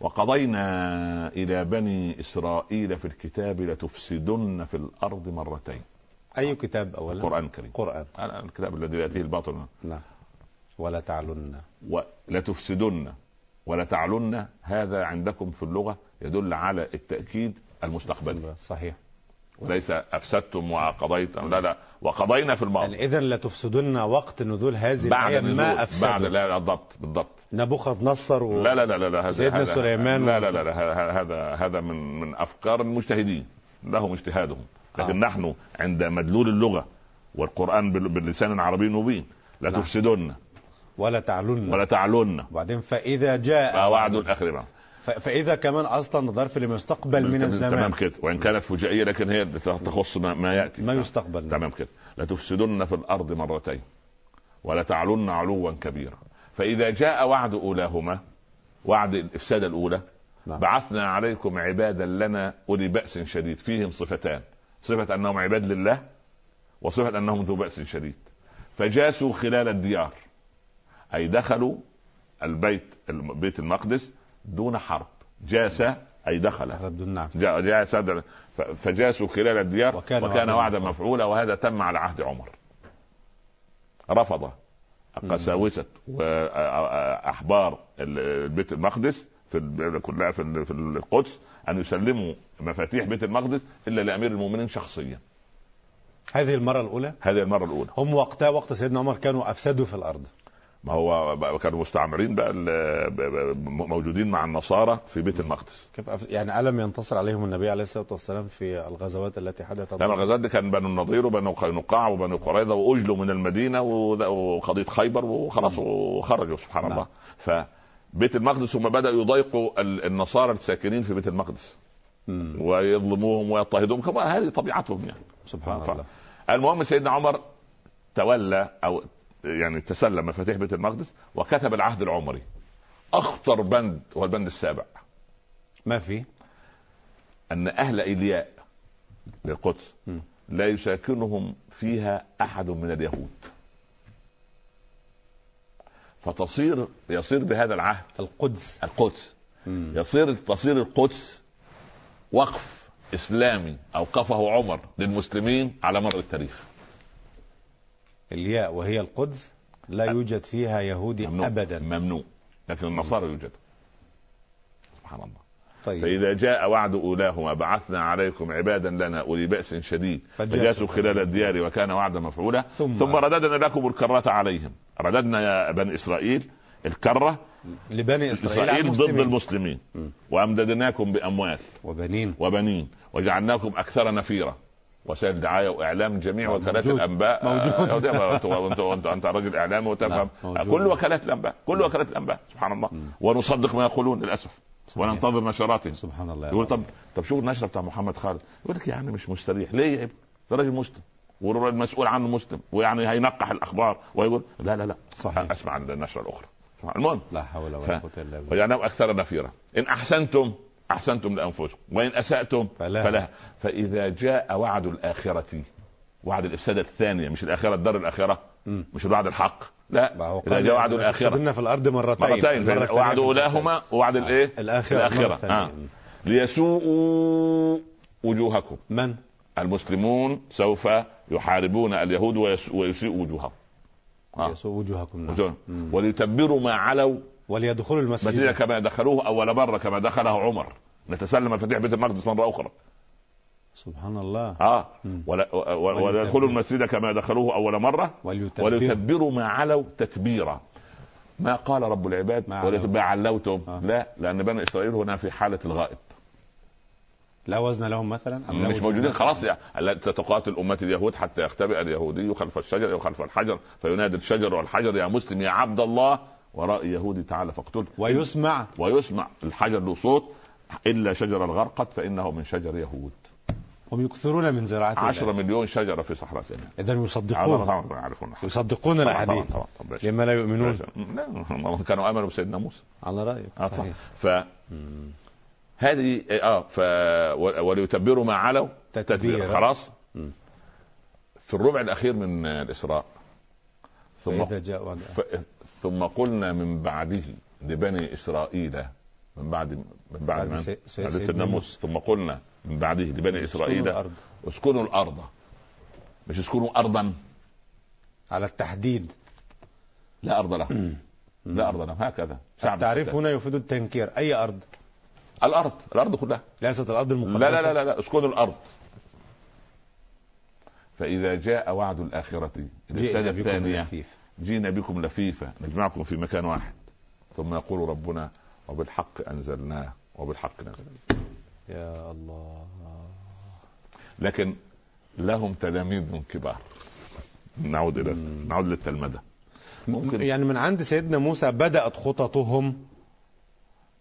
B: وقضينا إلى بني إسرائيل في الكتاب لتفسدن في الأرض مرتين
A: أي كتاب أولا
B: نعم. القرآن الكريم
A: قرآن
B: الآن الكتاب الذي يأتيه الباطل
A: نعم ولا تعلن
B: ولتفسدن ولتعلن هذا عندكم في اللغة يدل على التأكيد المستقبلي
A: صحيح
B: وليس أفسدتم وقضيتم لا لا وقضينا في الماضي
A: يعني إذا لتفسدن وقت نزول هذه
B: آه. بعد
A: الآية ما
B: نزول بعد
A: أفسدوا
B: لا لا، بالضبط بالضبط
A: نبوخذ نصر و...
B: لا لا لا لا, لا هذا
A: سيدنا
B: هذا-
A: سليمان
B: لا لا لا, لا هذا- هذا هذا من من افكار المجتهدين لهم اجتهادهم لكن
A: آه.
B: آه. نحن عند مدلول اللغه والقران بال- باللسان العربي المبين لا
A: نعم.
B: تفسدن
A: ولا تعلن
B: ولا آه. تعلن
A: وبعدين فإذا جاء
B: فوعد الاخر بقى.
A: ف... فإذا كمان أصلا ظرف لمستقبل من الزمان
B: تمام كده وان كانت فجائيه لكن هي تخص ما, ما ياتي
A: ما يستقبل
B: تمام كده لتفسدن في الارض مرتين ولتعلن علوا كبيرا فاذا جاء وعد اولاهما وعد الافساد الاولى
A: نعم.
B: بعثنا عليكم عبادا لنا اولي باس شديد فيهم صفتان صفه انهم عباد لله وصفه انهم ذو باس شديد فجاسوا خلال الديار اي دخلوا البيت الم- بيت المقدس دون حرب جاس اي دخل
A: رد النعم
B: جاء جاء سادة ف- فجاسوا خلال الديار
A: وكان
B: وكان,
A: وعدا
B: وكان وعدا مفعولا وهذا تم على عهد عمر رفض قساوسة وأحبار ال- بيت المقدس في ال- كلها في ال- في القدس أن يسلموا مفاتيح بيت المقدس إلا لأمير المؤمنين شخصيا
A: هذه المرة الأولى
B: هذه المرة الأولى
A: هم وقتها وقت سيدنا عمر كانوا أفسدوا في الأرض
B: ما هو بقى- كانوا مستعمرين بقى ال- ب- ب- موجودين مع النصارى في بيت المقدس
A: كيف أف... يعني ألم ينتصر عليهم النبي عليه الصلاة والسلام في الغزوات التي حدثت
B: لما الغزوات دي كان بنو النضير وبنو قينقاع وبنو قريظه واجلوا من المدينه وده- وقضيه خيبر وخلاص وخرجوا سبحان
A: نعم.
B: الله فبيت المقدس هم بداوا يضايقوا ال- النصارى الساكنين في بيت المقدس
A: مم.
B: ويظلموهم ويضطهدوهم كما هذه طبيعتهم يعني
A: سبحان
B: ف-
A: الله
B: المهم سيدنا عمر تولى او يعني تسلم مفاتيح بيت المقدس وكتب العهد العمري اخطر بند هو البند السابع
A: ما في
B: ان اهل ايلياء للقدس
A: مم.
B: لا يساكنهم فيها احد من اليهود فتصير يصير بهذا العهد
A: القدس
B: القدس
A: مم.
B: يصير تصير القدس وقف اسلامي اوقفه عمر للمسلمين على مر التاريخ
A: الياء وهي القدس لا يوجد فيها يهودي
B: ممنوع
A: أبدا
B: ممنوع لكن النصارى يوجد سبحان الله
A: طيب
B: فإذا جاء وعد أولاهما بعثنا عليكم عبادا لنا أولي بأس شديد
A: فجاسوا
B: فجاسوا خلال الديار وكان وعدا مفعولا
A: ثم-
B: ثم, ثم رددنا لكم الكرة عليهم رددنا يا بني إسرائيل الكرة
A: لبني إسرائيل
B: إسرائيل ضد
A: المسلمين.
B: المسلمين
A: مم.
B: وأمددناكم بأموال
A: وبنين
B: وبنين وجعلناكم أكثر نفيرا وسائل دعاية وإعلام جميع
A: موجود.
B: وكالات الأنباء
A: موجود.
B: أنت أنت أنت راجل إعلامي وتفهم
A: نعم، موجود.
B: كل وكالات الأنباء كل وكالات الأنباء سبحان الله
A: مم.
B: ونصدق ما يقولون للأسف
A: صحيح.
B: وننتظر نشراتهم
A: سبحان الله
B: يقول طب طب شوف النشره بتاع محمد خالد يقول لك يا عم مش مستريح ليه يا ابني ده راجل مسلم والمسؤول عنه مسلم ويعني هينقح الاخبار ويقول لا لا لا
A: صحيح
B: اسمع عن النشره الاخرى المهم
A: لا حول ولا
B: ف-
A: قوة الا بالله
B: وجعلناهم اكثر نفيرا ان احسنتم احسنتم لانفسكم وان اساتم
A: فلها.
B: فلها فاذا جاء وعد الاخره وعد الافساده الثانيه مش الاخره الدار الاخره
A: مم.
B: مش الوعد الحق لا
A: ما هو
B: اذا
A: قال
B: جاء وعد
A: إحنا
B: الاخره
A: فسدنا في الارض مرتين
B: مرتين
A: طيب، المرة الثانية
B: وعد
A: في
B: اولاهما ووعد
A: الثانية.
B: الايه
A: الاخره
B: الآخرة.
A: الآخرة.
B: آه.
A: الثانية.
B: ليسوءوا وجوهكم
A: من
B: المسلمون سوف يحاربون اليهود ويس- ويسيئوا وجوههم آه.
A: يسوء وجوهكم نعم.
B: وجوههم.
A: مم.
B: وليتبروا ما علوا
A: وليدخلوا
B: مسجدا
A: المسجد
B: كما دخلوه اول مره كما دخله عمر نتسلم مفاتيح بيت المقدس مره اخرى
A: سبحان الله
B: اه
A: مم. طيب،
B: ولا و- و- وليدخلوا المسجد كما دخلوه اول مره
A: وليتبروا
B: وليتبروا ما علوا تتبيرا ما قال رب العباد
A: ما علوا.
B: وليتبع علوتهم
A: آه.
B: لا لان بني اسرائيل هنا في حاله الغائب
A: لا وزن لهم مثلا أم لا
B: مش
A: وجود
B: موجودين
A: لهم؟
B: خلاص يعني لا تتقاتل امه اليهود حتى يختبئ اليهودي خلف الشجر او خلف الحجر فينادي الشجر والحجر يا مسلم يا عبد الله وراء يهودي تعالى فاقتله
A: ويسمع
B: ويسمع الحجر له صوت الا شجر الغرقد فانه من شجر يهود
A: هم يكثرون من زراعة
B: عشرة مليون شجرة في صحراء سيناء
A: إذا
B: هذا
A: يصدقون
B: طبعا يعرفون
A: يصدقون
B: طبعا طبعا
A: الأحاديث
B: طبعا طبعا باشا.
A: لما لا يؤمنون
B: باشا. لا هم كانوا امنوا بسيدنا موسى
A: على رأيك
B: اه صح
A: صحيح
B: ف
A: مم.
B: هذه اه ف و- وليتبروا ما علوا تتبيرا
A: تتبيرا.
B: خلاص
A: مم.
B: في الربع الاخير من الاسراء ثم
A: فإذا جاء وعد
B: ف... ثم قلنا من بعده لبني اسرائيل من بعد من بعد
A: بعد
B: من؟
A: سي- سي-
B: بعد
A: سيدنا
B: سيدنا موسى
A: موسى.
B: ثم قلنا من بعده لبني
A: اسكنوا
B: اسرائيل
A: الأرض.
B: اسكنوا الارض مش اسكنوا ارضا
A: على التحديد
B: لا ارض لهم لا ارض لهم هكذا شعب
A: التعريف
B: الستات.
A: هنا يفيد التنكير أي أرض
B: الارض الارض كلها
A: ليست الأرض
B: لا
A: المقدسة
B: لا لا لا, لا. اسكنوا الارض فاذا جاء وعد الاخره الرساله
A: جئنا بكم
B: الثانيه
A: لفيف
B: جينا بكم لفيفة نجمعكم في مكان واحد ثم يقول ربنا وبالحق أنزلناه وبالحق نزل
A: يا الله
B: لكن لهم تلاميذ من كبار نعود إلى نعود للتلمذة ممكن
A: يعني من عند سيدنا موسى بدأت خططهم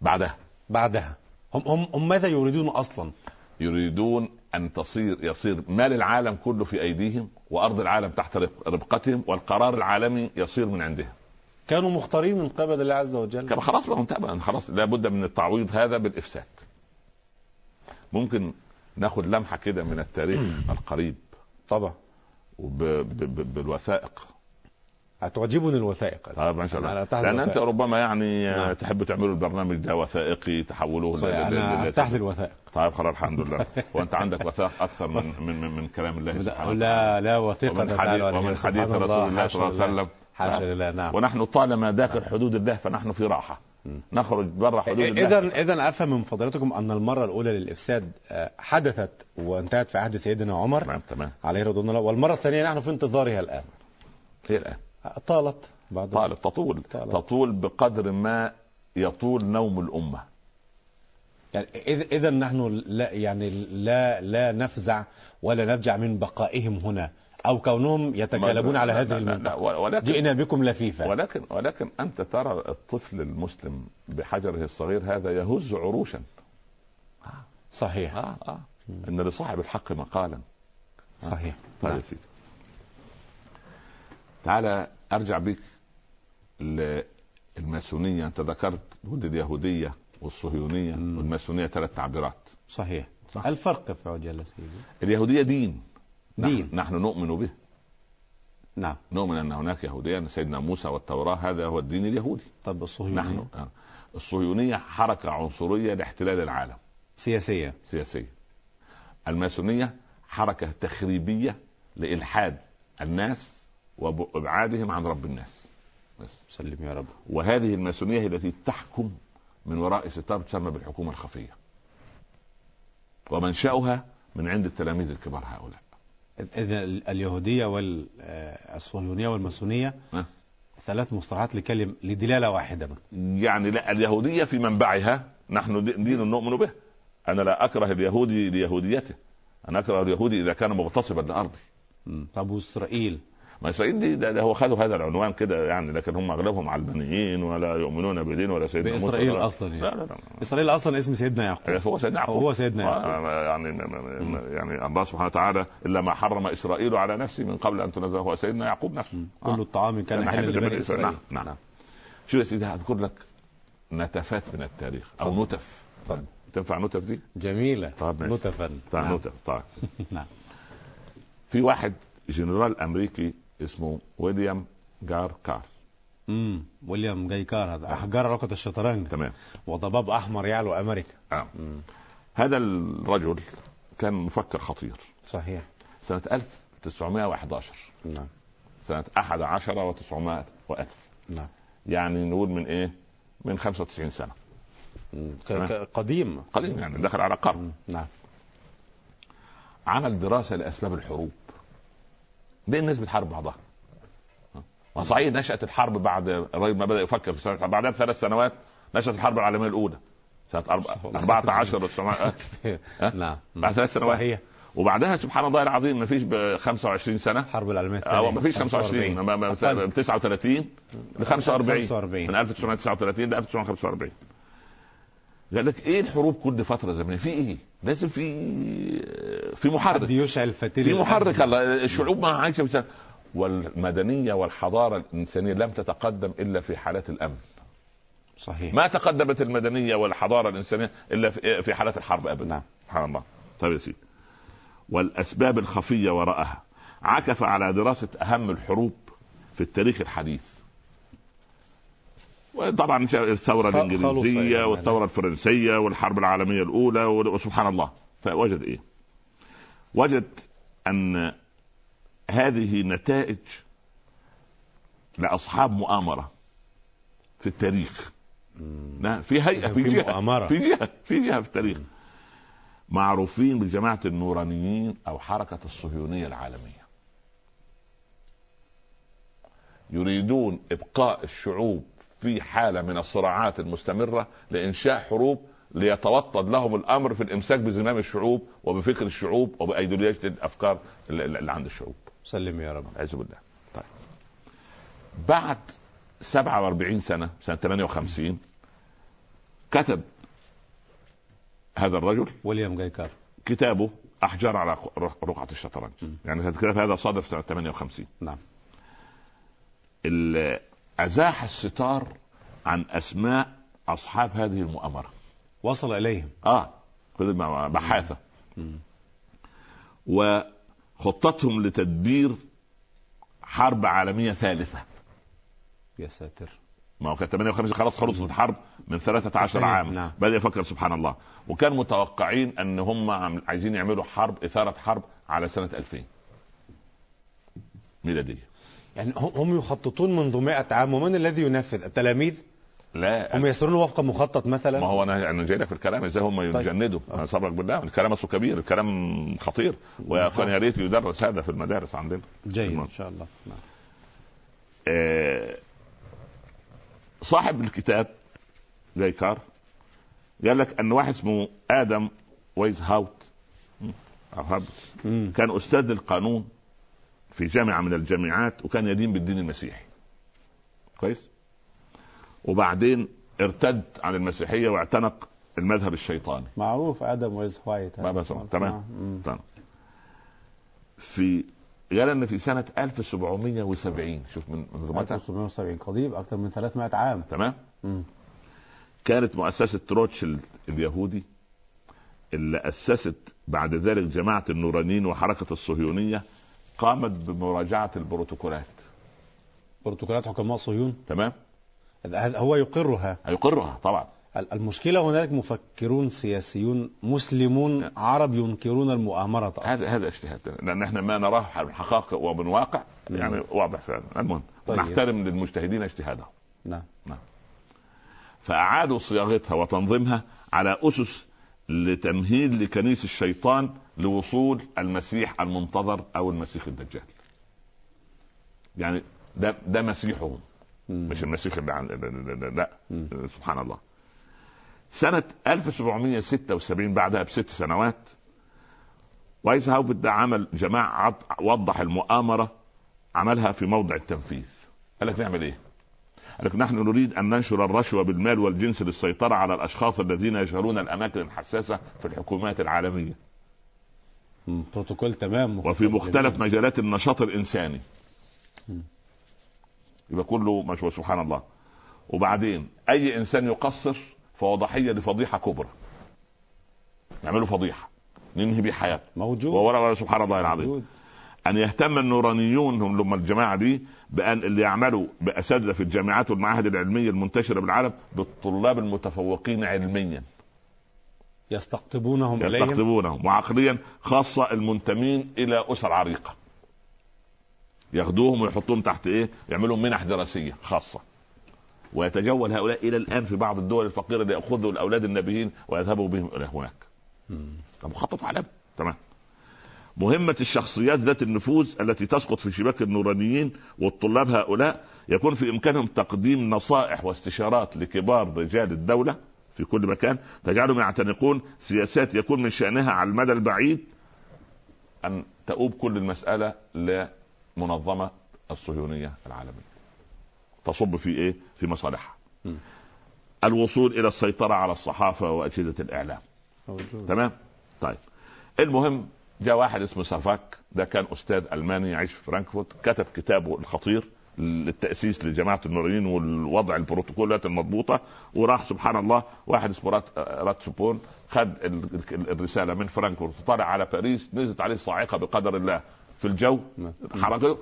B: بعدها
A: بعدها هم هم هم ماذا يريدون أصلا
B: يريدون أن تصير يصير مال العالم كله في أيديهم وأرض العالم تحت رق- ربقتهم والقرار العالمي يصير من عندهم
A: كانوا مختارين من قبل الله عز وجل
B: كما خلاص بقى انتهى بقى، خلاص لابد من التعويض هذا بالافساد ممكن ناخد لمحه كده من التاريخ القريب
A: طبعا
B: وب- ب- ب- بالوثائق
A: هتعجبني الوثائق
B: اه ما شاء
A: أنا
B: الله
A: أرتاح
B: لان
A: للوثائق.
B: انت ربما يعني آه،
A: نعم.
B: تحب تعملوا البرنامج ده وثائقي تحولوه
A: صحيح،
B: لل- لل-
A: انا
B: لل-
A: ارتاح للوثائق
B: طيب خلاص الحمد لله وانت عندك وثائق اكثر من من من, من كلام الله سبحانه وتعالى.
A: لا لا وثيقه
B: ومن حديث, ومن حديث رسول الله صلى الله عليه وسلم
A: حاشا لله نعم
B: ونحن طالما داخل حدود الله فنحن في راحه
A: مم.
B: نخرج بره حدود الله
A: اذا اذا افهم من فضيلتكم ان المره الاولى للافساد آه، حدثت وانتهت في عهد سيدنا عمر
B: نعم تمام
A: عليه رضوان الله والمره الثانيه نحن في انتظارها الان
B: هي الان
A: طالت بعد
B: طالب تطول
A: طالب.
B: تطول بقدر ما يطول نوم الأمة
A: يعني اذا اذا نحن لا يعني لا لا نفزع ولا نفجع من بقائهم هنا او كونهم يتكالبون على
B: لا-
A: هذه
B: لا- لا-
A: المنطقه
B: لا، ولكن
A: جئنا بكم لفيفا
B: ولكن ولكن أنت ترى الطفل المسلم بحجره الصغير هذا يهز عروشا
A: صحيح
B: آه آه. إن لصاحب الحق
A: نعم.
B: مقالا
A: صحيح نعم،
B: طيب يا سيدي. تعالى أرجع بك للماسونية أنت ذكرت قلت اليهودية والصهيونية
A: مم.
B: والماسونية ثلاث تعبيرات
A: صحيح
B: صح.
A: الفرق في عجل سيدي
B: اليهودية دين نحن-
A: دين.
B: نحن نؤمن به
A: نعم
B: نؤمن ان هناك يهوديه أن سيدنا موسى والتوراه هذا هو الدين اليهودي
A: طب
B: نحن
A: الصهيونية
B: آه. الصهيونيه حركه عنصريه لاحتلال العالم
A: سياسية
B: سياسيا الماسونيه حركه تخريبيه لالحاد الناس وابعادهم عن رب الناس بس
A: سلم يا رب
B: وهذه الماسونيه هي التي تحكم من وراء ستار تسمى بالحكومه الخفيه ومنشأها من عند التلاميذ الكبار هؤلاء
A: إذا ال- اليهودية والصهيونية والماسونية
B: نعم.
A: ثلاث مصطلحات لكلم لدلالة واحدة بس.
B: يعني لا اليهوديه في منبعها نحن دي- دين نؤمن به انا لا اكره اليهودي ليهوديته انا اكره اليهودي اذا كان مغتصبا لارضي
A: طب وإسرائيل
B: ما اسرائيل دي ده, ده هو خدوا هذا العنوان كده يعني لكن هم اغلبهم علمانيين ولا يؤمنون بدين ولا سيدنا موسى
A: بإسرائيل
B: ولا-
A: أصلاً يعني.
B: لا لا لا
A: اسرائيل اصلا اسم سيدنا يعقوب
B: هو سيدنا يعقوب
A: هو سيدنا يعقوب.
B: آه، يعني يعني الله سبحانه وتعالى الا ما حرم اسرائيل على نفسه من قبل ان تنزله هو سيدنا يعقوب نفسه آه.
A: كل الطعام كان
B: كان
A: حلا
B: حل
A: لبني
B: لبني
A: اسرائيل
B: إسرائيل. نعم. شو يا سيدي هذكر لك نتفات من التاريخ او نتف
A: اتفضل.
B: تنفع نتف دي؟
A: جميله
B: طب ماشي.
A: متفن
B: طيب
A: نعم.
B: نتف طيب
A: نعم
B: في واحد جنرال امريكي اسمه ويليام جار كار
A: امم ويليام جايكار هذا
B: نعم.
A: احجار ركض الشطرنج
B: تمام
A: وضباب احمر يعلو امريكا
B: آه. هذا الرجل كان مفكر خطير
A: صحيح
B: سنة 1911
A: نعم
B: سنة 11 و900 و1000
A: نعم
B: يعني نقول من ايه؟ من 95 سنة
A: ك- ك- قديم
B: قليل يعني دخل على قرن
A: مم. نعم
B: عمل دراسة لأسباب الحروب ليه الناس بتحارب بعضها؟ ها؟ ما صحيح نشأت الحرب بعد الراجل ما بدأ يفكر في سنة الحرب. بعدها بثلاث سنوات نشأت الحرب العالمية الأولى سنة أربعة- 14 و900 ها؟
A: نعم
B: بعد ثلاث سنوات.
A: صحيح
B: وبعدها سبحان الله العظيم ما فيش ب 25 سنه
A: الحرب العالميه الثانيه
B: او آه، ما فيش 25 ما- ما-
A: أقل.
B: ما- 39 ل 45
A: 45
B: من 1939 ل 1945 قال لك ايه الحروب كل فتره زمنيه في ايه؟ لازم في
A: حد
B: في محرك
A: يشعل فتيل
B: في
A: الأرض.
B: محرك الله الشعوب ما عايشه في سنة. والمدنيه والحضاره الانسانيه لم تتقدم الا في حالات الامن
A: صحيح
B: ما تقدمت المدنيه والحضاره الانسانيه الا في- في حالات الحرب ابدا
A: نعم
B: سبحان الله طيب يا سيدي والاسباب الخفيه وراءها عكف على دراسه اهم الحروب في التاريخ الحديث وطبعا شا- الثوره
A: خ- خلص يعني.
B: الانجليزيه والثوره الفرنسيه والحرب العالميه الاولى وال- وسبحان الله فوجد ايه؟ وجد ان هذه نتائج لاصحاب مؤامره في التاريخ نعم في هيئه في
A: في
B: جهه
A: مؤامرة.
B: في جهه في جهه في التاريخ معروفين بجماعه النورانيين او حركه الصهيونيه العالميه يريدون ابقاء الشعوب في حاله من الصراعات المستمره لانشاء حروب ليتوطد لهم الامر في الامساك بزمام الشعوب وبفكر الشعوب وبايديولوجيه الافكار اللي اللي عند الشعوب
A: سلم يا رب
B: اعوذ بالله طيب بعد 47 سنه سنه 58 كتب هذا الرجل
A: ويليام جايكار
B: كتابه احجار على رقعه الشطرنج يعني الكتاب هذا صادر سنه 58
A: نعم
B: ال- ازاح الستار عن اسماء اصحاب هذه المؤامره
A: وصل اليهم
B: اه فضل مع- بحاثه وخطتهم لتدبير حرب عالميه ثالثه
A: يا ساتر
B: ما هو كان 58 خلاص خلصت الحرب من 13
A: نعم،
B: عام
A: نعم.
B: بدا يفكر سبحان الله وكان متوقعين ان هم عم- عايزين يعملوا حرب اثاره حرب على سنه 2000 ميلاديه
A: يعني هم- هم يخططون منذ 100 عام ومن الذي ينفذ التلاميذ
B: لا
A: هم يسيرون وفق مخطط مثلا
B: أه. ما هو انا انا جاي لك في الكلام ازاي هم يتجندوا انا صبرك بالله الكلام اصله كبير الكلام خطير وكان يا ريت يدرس هذا في المدارس عندنا
A: جيد ان شاء الله نعم.
B: آه، صاحب الكتاب جايكار قال لك ان واحد اسمه ادم ويز هاوت أو هابت،
A: مم.
B: كان استاذ القانون في جامعه من الجامعات وكان يدين بالدين المسيحي كويس وبعدين ارتد عن المسيحيه واعتنق المذهب الشيطاني
A: معروف ادم ويز نعم. وايت
B: ما بس- تمام تمام في قال ان في سنه 1770 شوف من منظومتها
A: 1970 قضيب اكثر من 300 عام
B: تمام
A: مم.
B: كانت مؤسسة روتشيلد اليهودي اللي أسست بعد ذلك جماعة النورانيين وحركة الصهيونية قامت بمراجعة البروتوكولات
A: برتقالات حكماء صهيون
B: تمام
A: هذا هو يقرها
B: هيقرها طبعا
A: ال- المشكله هنالك مفكرون سياسيون مسلمون عرب ينكرون المؤامره أصلاً.
B: هذا هذا اجتهاد لأن احنا ما نراه من حقائق ومن واقع يعني واضح فعلا المهم
A: طيب.
B: نحترم للمجتهدين اجتهادهم
A: نعم
B: فأعادوا صياغتها وتنظيمها على أسس لتمهيد لكنيس الشيطان لوصول المسيح المنتظر أو المسيح الدجال يعني ده ده مسيحهم
A: مم.
B: مش المسيح اللي عن... لا, لا. سبحان الله سنة 1776 بعدها بست سنوات وايز هاوبت ده عمل جماعة عط- وضح المؤامرة عملها في موضع التنفيذ قال لك نعمل ايه قال لك نحن نريد ان ننشر الرشوه بالمال والجنس للسيطره على الاشخاص الذين يشغلون الاماكن الحساسه في الحكومات العالميه
A: مم. بروتوكول تمام
B: وفي مختلف
A: جميل.
B: مجالات النشاط الانساني
A: مم.
B: يبقى كله مشروع سبحان الله وبعدين اي انسان يقصر فهو ضحيه لفضيحه كبرى نعمله فضيحه ننهي به حياته
A: موجود
B: وورا ورا سبحان الله العظيم
A: موجود.
B: ان يهتم النورانيون هم هم الجماعه دي بان اللي يعملوا باساتذه في الجامعات والمعاهد العلميه المنتشره بالعالم بالطلاب المتفوقين علميا
A: يستقطبونهم إليهم
B: يستقطبونهم وعقليا خاصه المنتمين الى اسر عريقه ياخدوهم ويحطوهم تحت ايه؟ يعملوا منح دراسيه خاصه ويتجول هؤلاء الى الان في بعض الدول الفقيره ليأخذوا الاولاد النابهين ويذهبوا بهم الى هناك.
A: مم.
B: ده مخطط عالمي تمام مهمة الشخصيات ذات النفوذ التي تسقط في شباك النورانيين والطلاب هؤلاء يكون في إمكانهم تقديم نصائح واستشارات لكبار رجال الدولة في كل مكان تجعلهم يعتنقون سياسات يكون من شأنها على المدى البعيد أن تؤوب كل المسألة لمنظمة الصهيونية العالمية تصب في إيه؟ في مصالحها
A: م.
B: الوصول إلى السيطرة على الصحافة وأجهزة الإعلام
A: موجود
B: تمام طيب المهم جاء واحد اسمه سافاك ده كان استاذ الماني يعيش في فرانكفورت كتب كتابه الخطير للتاسيس لجماعه النورانيين والوضع البروتوكولات المضبوطه وراح سبحان الله واحد اسمه رات راتسبون خد ال- ال- الرساله من فرانكفورت طلع على باريس نزلت عليه صاعقه بقدر الله في الجو
A: نعم.
B: حركته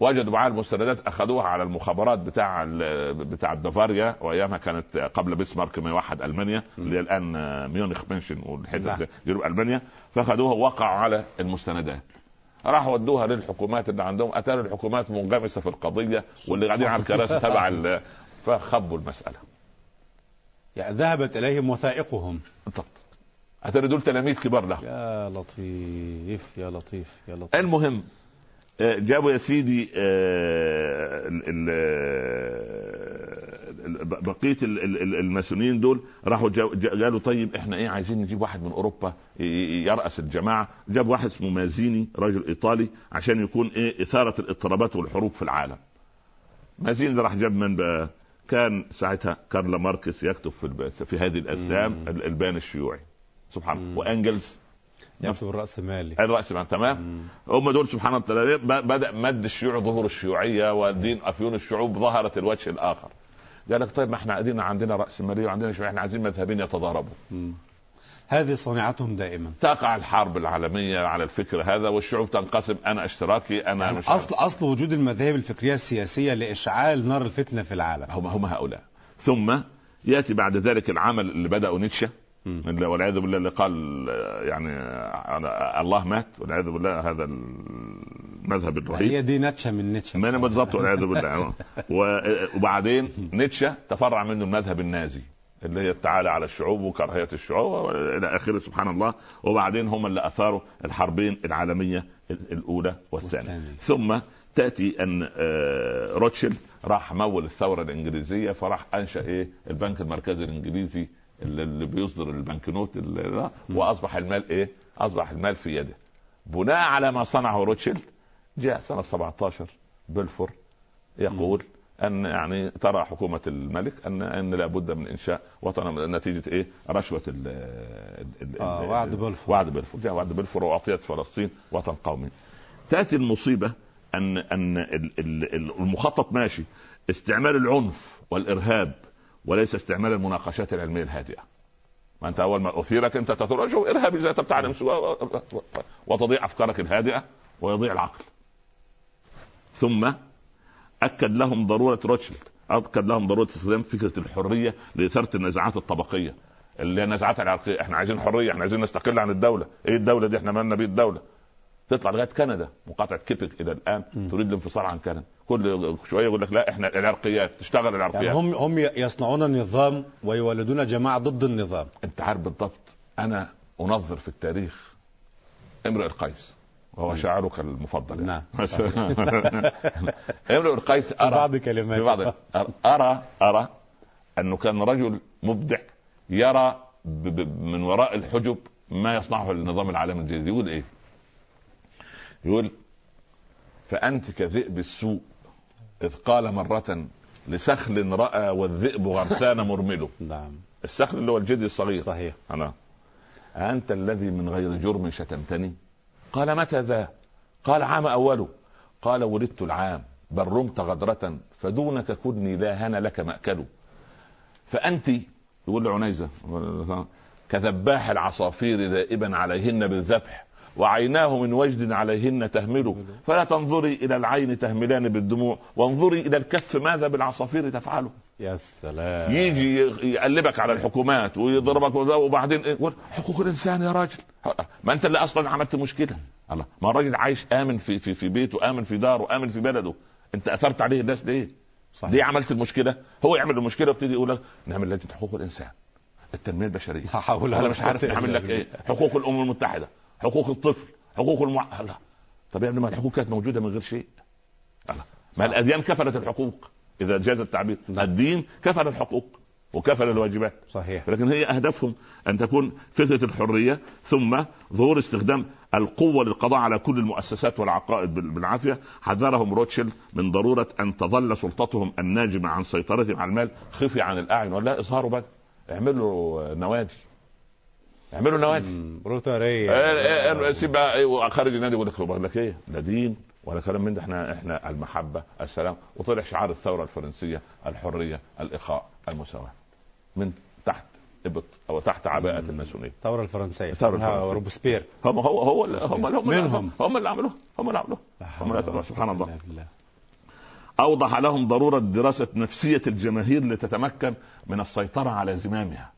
B: وجدوا معاه المستندات اخذوها على المخابرات بتاع ال- بتاع البافاريا وايامها كانت قبل بسمارك ما يوحد المانيا اللي هي الان آه، ميونخ منشن والحتت
A: نعم.
B: دي، جنوب المانيا فاخذوها وقعوا على المستندات راحوا ودوها للحكومات اللي عندهم اتاروا الحكومات منغمسه في القضيه واللي قاعدين على الكراسي تبع ال- فخبوا المساله
A: يعني ذهبت إليهم وثائقهم
B: طب اتاري دول تلاميذ كبار لهم
A: يا لطيف يا لطيف يا لطيف
B: المهم آه، جابوا يا سيدي آه، ال- ال- ال- ال- بقيه ال- ال- ال- الماسونيين دول راحوا جا- جا- قالوا طيب احنا ايه عايزين نجيب واحد من اوروبا ي- ي- يراس الجماعه جاب واحد اسمه مازيني راجل ايطالي عشان يكون ايه اثاره الاضطرابات والحروب في العالم مازيني ده راح جاب من بقى كان ساعتها كارل ماركس يكتب في الب- في هذه الاسلام
A: مم.
B: الالباني الشيوعي سبحان الله
A: مم.
B: وانجلز
A: يكتب الرأس مالي
B: الراس تمام هم دول سبحان الله التلاميذ ب- بدا مد الشيوع ظهور الشيوعيه ودين افيون الشعوب ظهرت الوجه الاخر قال لك طيب ما احنا قاعدين عندنا راس ماليه وعندنا شيوعيه احنا عايزين مذهبين يتضاربوا
A: هذه صنيعتهم دائما
B: تقع الحرب العالميه على الفكر هذا والشعوب تنقسم انا اشتراكي انا مش عارف.
A: اصل اصل وجود المذاهب الفكريه السياسيه لاشعال نار الفتنه في العالم
B: هم هم هؤلاء ثم ياتي بعد ذلك العمل اللي بداه نيتشه
A: مم.
B: اللي- والعياذ بالله اللي قال آه، يعني آه، الله مات والعياذ بالله هذا المذهب الرهيب
A: يعني هي دي نتشه من نتشه
B: ما انا بالظبط والعياذ بالله و- وبعدين نيتشه تفرع منه المذهب النازي اللي هي التعالى على الشعوب وكراهيه الشعوب الى اخره سبحان الله وبعدين هم اللي اثاروا الحربين العالميه ال- الاولى والثانيه
A: والثانية.
B: ثم تاتي ان آه، روتشيلد راح مول الثوره الانجليزيه فراح انشا ايه البنك المركزي الانجليزي اللي- اللي بيصدر البنكنوت اللي- ده، واصبح المال ايه اصبح المال في يده بناء على ما صنعه روتشيلد جاء سنة 17 بلفور يقول أن يعني ترى حكومة الملك أن أن لابد من إنشاء وطن نتيجة إيه؟ رشوة ال ال- ال-
A: آه،
B: ال-
A: وعد بلفور.
B: وعد بلفور جاء وعد بلفور وأعطيت فلسطين وطن قومي. تأتي المصيبة أن أن ال- ال- ال- المخطط ماشي استعمال العنف والإرهاب وليس استعمال المناقشات العلمية الهادئة. ما انت اول ما اثيرك انت تثور شوف ارهابي ذات تعلم سوى وتضيع افكارك الهادئه ويضيع العقل ثم اكد لهم ضروره روتشيلد اكد لهم ضروره استخدام فكره الحريه لاثاره النزاعات الطبقيه اللي هي النزاعات العرقيه احنا عايزين حريه احنا عايزين نستقل عن الدوله ايه الدوله دي احنا مالنا بيه الدوله تطلع لغايه كندا مقاطعه كيبك الى الان
A: مم.
B: تريد الانفصال عن كندا كل شويه يقول لك لا احنا العرقيات تشتغل العرقيات
A: يعني هم هم يصنعون النظام ويولدون جماعه ضد النظام
B: انت عارف بالضبط انا انظر في التاريخ امرئ القيس وهو شاعرك المفضل
A: نعم.
B: يعني. امرئ القيس
A: في
B: ارى
A: بعض كلمات
B: في بعض ارى ارى انه كان رجل مبدع يرى ب- ب- من وراء الحجب إيه؟ ما يصنعه النظام العالمي الجديد يقول ايه؟ يقول فأنت كذئب السوء إذ قال مرة لسخل رأى والذئب غرسان مرمله
A: نعم
B: السخل اللي هو الجدي الصغير
A: صحيح
B: أنا أنت الذي من غير جرم شتمتني قال متى ذا قال عام أوله قال ولدت العام بل رمت غدرة فدونك كدني لا هان لك مأكل فأنت يقول لعنيزة كذباح العصافير دائبا عليهن بالذبح وعيناه من وجد عليهن تهمل فلا تنظري إلى العين تهملان بالدموع وانظري إلى الكف ماذا بالعصافير تفعله
A: يا سلام
B: يجي يقلبك على الحكومات ويضربك وده وبعدين إيه؟ يقول حقوق الانسان يا راجل ما انت اللي اصلا عملت مشكله الله ما الراجل عايش امن في في في بيته امن في داره امن في بلده انت اثرت عليه الناس ليه؟
A: صحيح
B: ليه عملت المشكله؟ هو يعمل المشكله ويبتدي يقول لك نعمل لجنه حقوق الانسان التنميه البشريه
A: لا حول ولا
B: انا مش
A: قوة
B: عارف
A: إلا
B: نعمل لك
A: بالله.
B: ايه حقوق الامم المتحده حقوق الطفل حقوق المع الله طب يا ابني ما الحقوق كانت موجوده من غير شيء الله
A: صح.
B: ما الاديان كفلت الحقوق اذا جاز التعبير
A: نعم.
B: الدين كفل الحقوق وكفل الواجبات
A: صحيح
B: لكن هي اهدافهم ان تكون فكره الحريه ثم ظهور استخدام القوه للقضاء على كل المؤسسات والعقائد بال- بالعافيه حذرهم روتشيلد من ضروره ان تظل سلطتهم الناجمه عن سيطرتهم على المال خفي عن الاعين ولا اظهروا بقى اعملوا نوادي اعملوا نوادي
A: مم، روتارية
B: آه، آه، آه، سيب بقى إيه، خارج النادي يقول لك بقول لك ايه لا دين ولا كلام من ده احنا احنا المحبه السلام وطلع شعار الثوره الفرنسيه الحريه الاخاء المساواه من تحت ابط او تحت عباءه الماسونيه
A: الثورة الفرنسية
B: الثورة الفرنسية.
A: آه، روبسبير
B: هم هو هو اللي هم اللي هم اللي-
A: منهم.
B: هم اللي عملوها هم اللي عملوها هم اللي عملوها سبحان الله
A: لا بالله.
B: اوضح لهم ضروره دراسه نفسيه الجماهير لتتمكن من السيطره على زمامها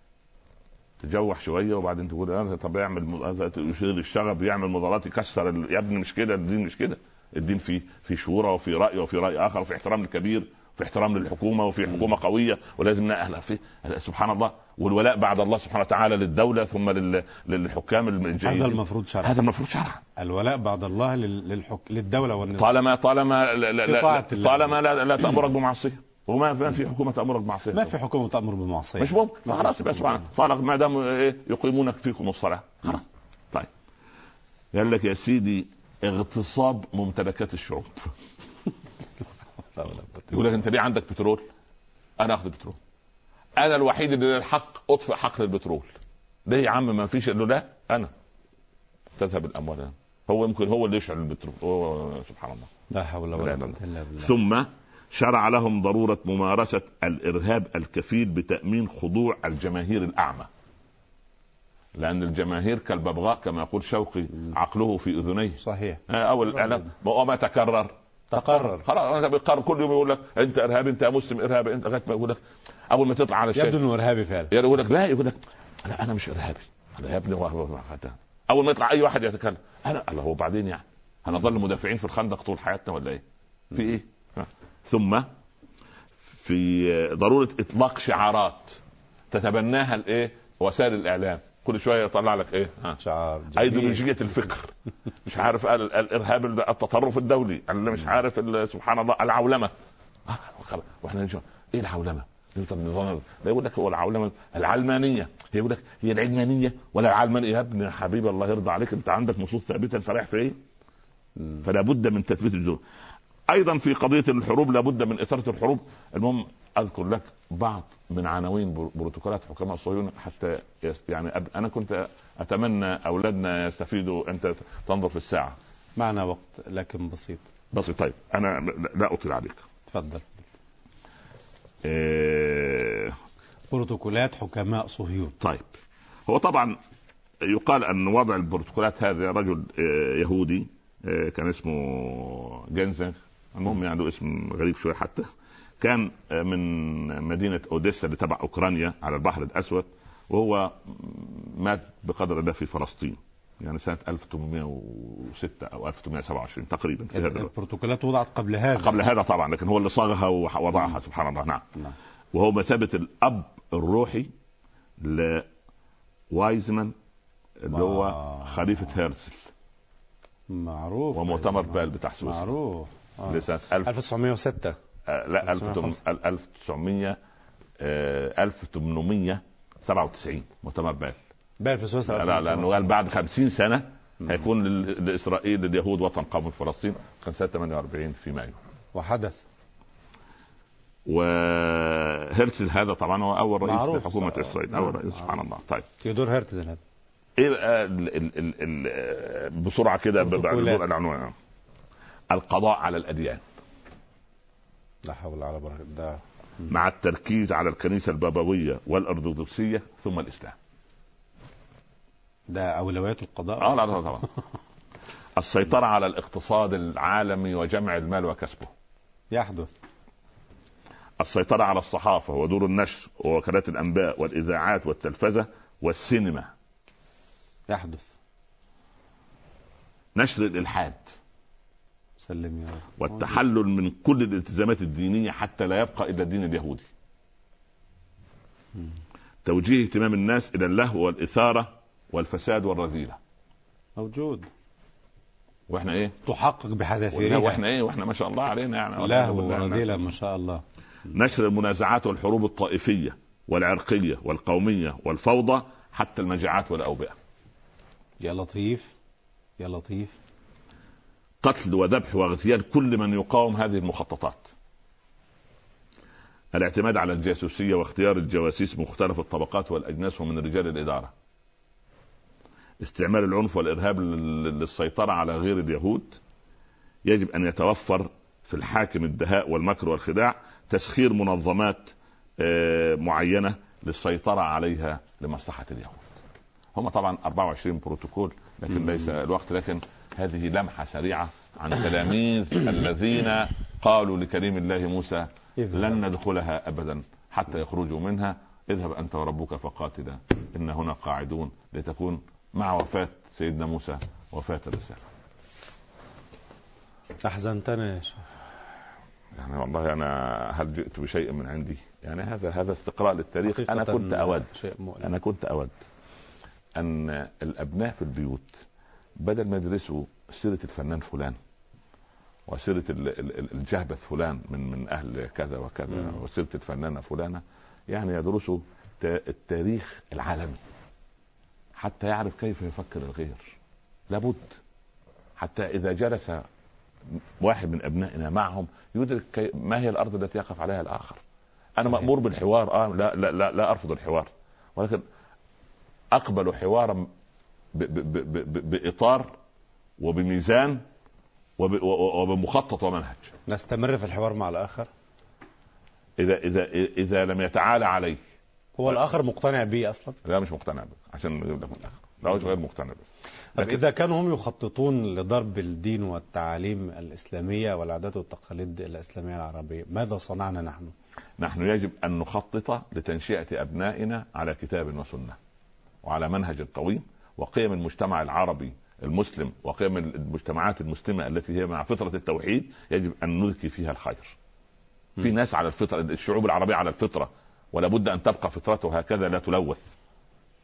B: تجوح شويه وبعدين تقول آه طب يعمل م- يشيل الشغب يعمل مظاهرات يكسر ال- يا ابني مش كده الدين مش كده الدين في في شورى وفي راي وفي راي اخر وفي احترام للكبير وفي احترام للحكومه وفي حكومه قويه ولازم نأهلها في سبحان الله والولاء بعد الله سبحانه وتعالى للدوله ثم لل- للحكام الجيدين
A: هذا المفروض شرع
B: هذا المفروض شرعا
A: الولاء بعد الله لل- للحك... للدولة والنظام
B: طالما طالما لا لا
A: في طاعة
B: لا
A: الله.
B: طالما لا, لا تامرك بمعصيه وما ما في حكومه تامرك بمعصيه
A: ما في حكومة تأمر بالمعصية
B: طيب. مش ممكن خلاص يبقى سبحان خلاص ما دام إيه، يقيمونك فيكم الصلاه خلاص طيب قال لك يا سيدي اغتصاب ممتلكات الشعوب
A: لا ولا قوة إلا
B: يقول لك انت ليه عندك بترول؟ انا اخذ بترول انا الوحيد اللي له الحق اطفئ حقل البترول ليه يا عم ما فيش قال له لا انا تذهب الاموال أنا. هو يمكن هو اللي يشعل البترول أوه، سبحان الله
A: لا حول
B: لا
A: ولا
B: لا
A: قوة إلا بالله
B: ثم شرع لهم ضرورة ممارسة الإرهاب الكفيل بتأمين خضوع الجماهير الأعمى لأن الجماهير كالببغاء كما يقول شوقي عقله في أذنيه
A: صحيح
B: آه، أو الإعلام وما تكرر
A: تقرر
B: خلاص أنت بيقرر كل يوم يقول لك أنت إرهابي أنت مسلم إرهابي أنت لغاية ما يقول لك أول ما تطلع على الشاشة
A: يبدو انه ارهابي فعلا
B: يقول لك لا يقول لك أنا أنا مش إرهابي أنا يا ابني وه- وه- وه- أول ما يطلع أي واحد يتكلم أنا الله هو بعدين يعني هنظل مدافعين في الخندق طول حياتنا ولا إيه؟ في ايه؟ ثم في ضروره اطلاق شعارات تتبناها الايه؟ وسائل الاعلام كل شويه يطلع لك ايه؟ ها.
A: شعار جميل.
B: ايديولوجيه الفكر مش عارف ال- ال- الارهاب ال- التطرف الدولي اللي مش عارف ال- سبحان الله العولمه آه، خلاص. واحنا نشوف ايه العولمه؟ انت النظام لا يقول لك هو العولمه العلمانيه هي يقول لك هي العلمانيه ولا العلمانيه يا ابني يا حبيبي الله يرضى عليك انت عندك نصوص ثابته انت رايح في ايه؟
A: مم.
B: فلا بد من تثبيت الجذور ايضا في قضيه الحروب لا بد من اثاره الحروب المهم اذكر لك بعض من عناوين بر- بروتوكولات حكماء الصهيون حتى يس- يعني أب- انا كنت اتمنى اولادنا يستفيدوا انت تنظر في الساعه
A: معنا وقت لكن بسيط
B: بس طيب انا لا- لا اطيل عليك
A: تفضل
B: إيه
A: بروتوكولات حكماء صهيون
B: طيب هو طبعا يقال ان وضع البروتوكولات هذا رجل آه، يهودي آه، كان اسمه جنزن المهم يعني له اسم غريب شويه حتى كان آه، من مدينه اوديسا اللي تبع اوكرانيا على البحر الاسود وهو مات بقدر ده في فلسطين يعني سنه 1806 او 1827 تقريبا في هذا الوقت.
A: البروتوكولات وضعت قبل هذا
B: قبل هذا طبعا لكن هو اللي صاغها ووضعها سبحان الله نعم
A: نعم.
B: وهو مثابة الأب الروحي لوايزمان اللي هو
A: آه.
B: خليفة هيرتزل
A: معروف
B: ومؤتمر بال بتاع سويسرا
A: أيوة. معروف آه.
B: لسنة 1000
A: 1906
B: آه، لا
A: 1905.
B: 1900 آه، 1897 مؤتمر بال
A: بال في سويسرا
B: لا لأنه قال بعد 50 سنة
A: نعم.
B: هيكون لل- لاسرائيل لليهود وطن قومي فلسطين كان سنه 48 في مايو
A: وحدث
B: وهرتز هذا طبعا هو اول رئيس
A: معروف
B: لحكومه
A: صح.
B: اسرائيل
A: نعم،
B: اول رئيس سبحان
A: معروف.
B: الله طيب
A: تيودور هرتز هذا
B: ايه بقى ال ال ال ال بسرعه كده ب- بعد
A: البروتوكولات.
B: بدء العنوان القضاء على الاديان
A: لا حول ولا بركه ده
B: مع التركيز على الكنيسه البابويه والارثوذكسيه ثم الاسلام
A: ده اولويات القضاء
B: اه لا لا طبعا السيطره على الاقتصاد العالمي وجمع المال وكسبه
A: يحدث
B: السيطرة على الصحافة ودور النشر ووكالات الأنباء والإذاعات والتلفزة والسينما
A: يحدث
B: نشر الإلحاد
A: سلم يا رب
B: والتحلل من كل الالتزامات الدينية حتى لا يبقى إلا الدين اليهودي توجيه اهتمام الناس إلى اللهو والإثارة والفساد والرذيلة
A: موجود
B: وإحنا إيه؟
A: تحقق
B: وإحنا,
A: بحذافيرها
B: وإحنا إيه؟ وإحنا ما شاء الله علينا يعني
A: لا
B: والعياذ بالله.
A: ورذيلة ما شاء الله
B: نشر المنازعات والحروب الطائفية والعرقية والقومية والفوضى حتى المجاعات والأوبئة
A: يا لطيف يا لطيف
B: قتل وذبح واغتيال كل من يقاوم هذه المخططات الاعتماد على الجاسوسية واختيار الجواسيس مختلف الطبقات والأجناس ومن رجال الإدارة استعمال العنف والإرهاب لل- للسيطرة على غير اليهود يجب أن يتوفر في الحاكم الدهاء والمكر والخداع تسخير منظمات آه، معينة للسيطرة عليها لمصلحة اليهود هم طبعا 24 بروتوكول لكن ليس الوقت لكن هذه لمحة سريعة عن تلاميذ الذين قالوا لكريم الله موسى
A: اذهب.
B: لن ندخلها أبدا حتى يخرجوا منها اذهب أنت وربك فقاتلا إن هنا قاعدون لتكون مع وفاة سيدنا موسى وفاة الرسالة
A: احزنتنا يا شيخ
B: يعني والله انا هل جئت بشيء من عندي؟ يعني هذا هذا استقراء للتاريخ انا
A: حقيقة
B: كنت اود
A: شيء مؤلم
B: انا كنت اود ان الابناء في البيوت بدل ما يدرسوا سيره الفنان فلان وسيره ال- ال- ال- الجهبذ فلان من من اهل كذا وكذا
A: مم.
B: وسيره الفنانه فلانه يعني يدرسوا تا- التاريخ العالمي حتى يعرف كيف يفكر الغير لابد حتى اذا جلس واحد من ابنائنا معهم يدرك كي- ما هي الارض التي يقف عليها الاخر انا
A: صحيح.
B: مامور بالحوار اه لا لا لا, لا ارفض الحوار ولكن اقبل حوارا ب ب ب ب ب باطار وبميزان وب و- وبمخطط ومنهج
A: نستمر في الحوار مع الاخر
B: اذا اذا اذا لم يتعالى عليه
A: هو الاخر مقتنع بيه اصلا
B: لا مش مقتنع به عشان نجيب لك من الاخر لا هو غير مقتنع به
A: طب
B: لكن-
A: اذا كانوا هم يخططون لضرب الدين والتعاليم الاسلاميه والعادات والتقاليد الاسلاميه العربيه ماذا صنعنا نحن
B: نحن يجب ان نخطط لتنشئه ابنائنا على كتاب وسنه وعلى منهج قويم وقيم المجتمع العربي المسلم وقيم المجتمعات المسلمه التي هي مع فطره التوحيد يجب ان نذكي فيها الخير. في ناس على الفطره الشعوب العربيه على الفطره ولا بد ان تبقى فطرته هكذا لا تلوث.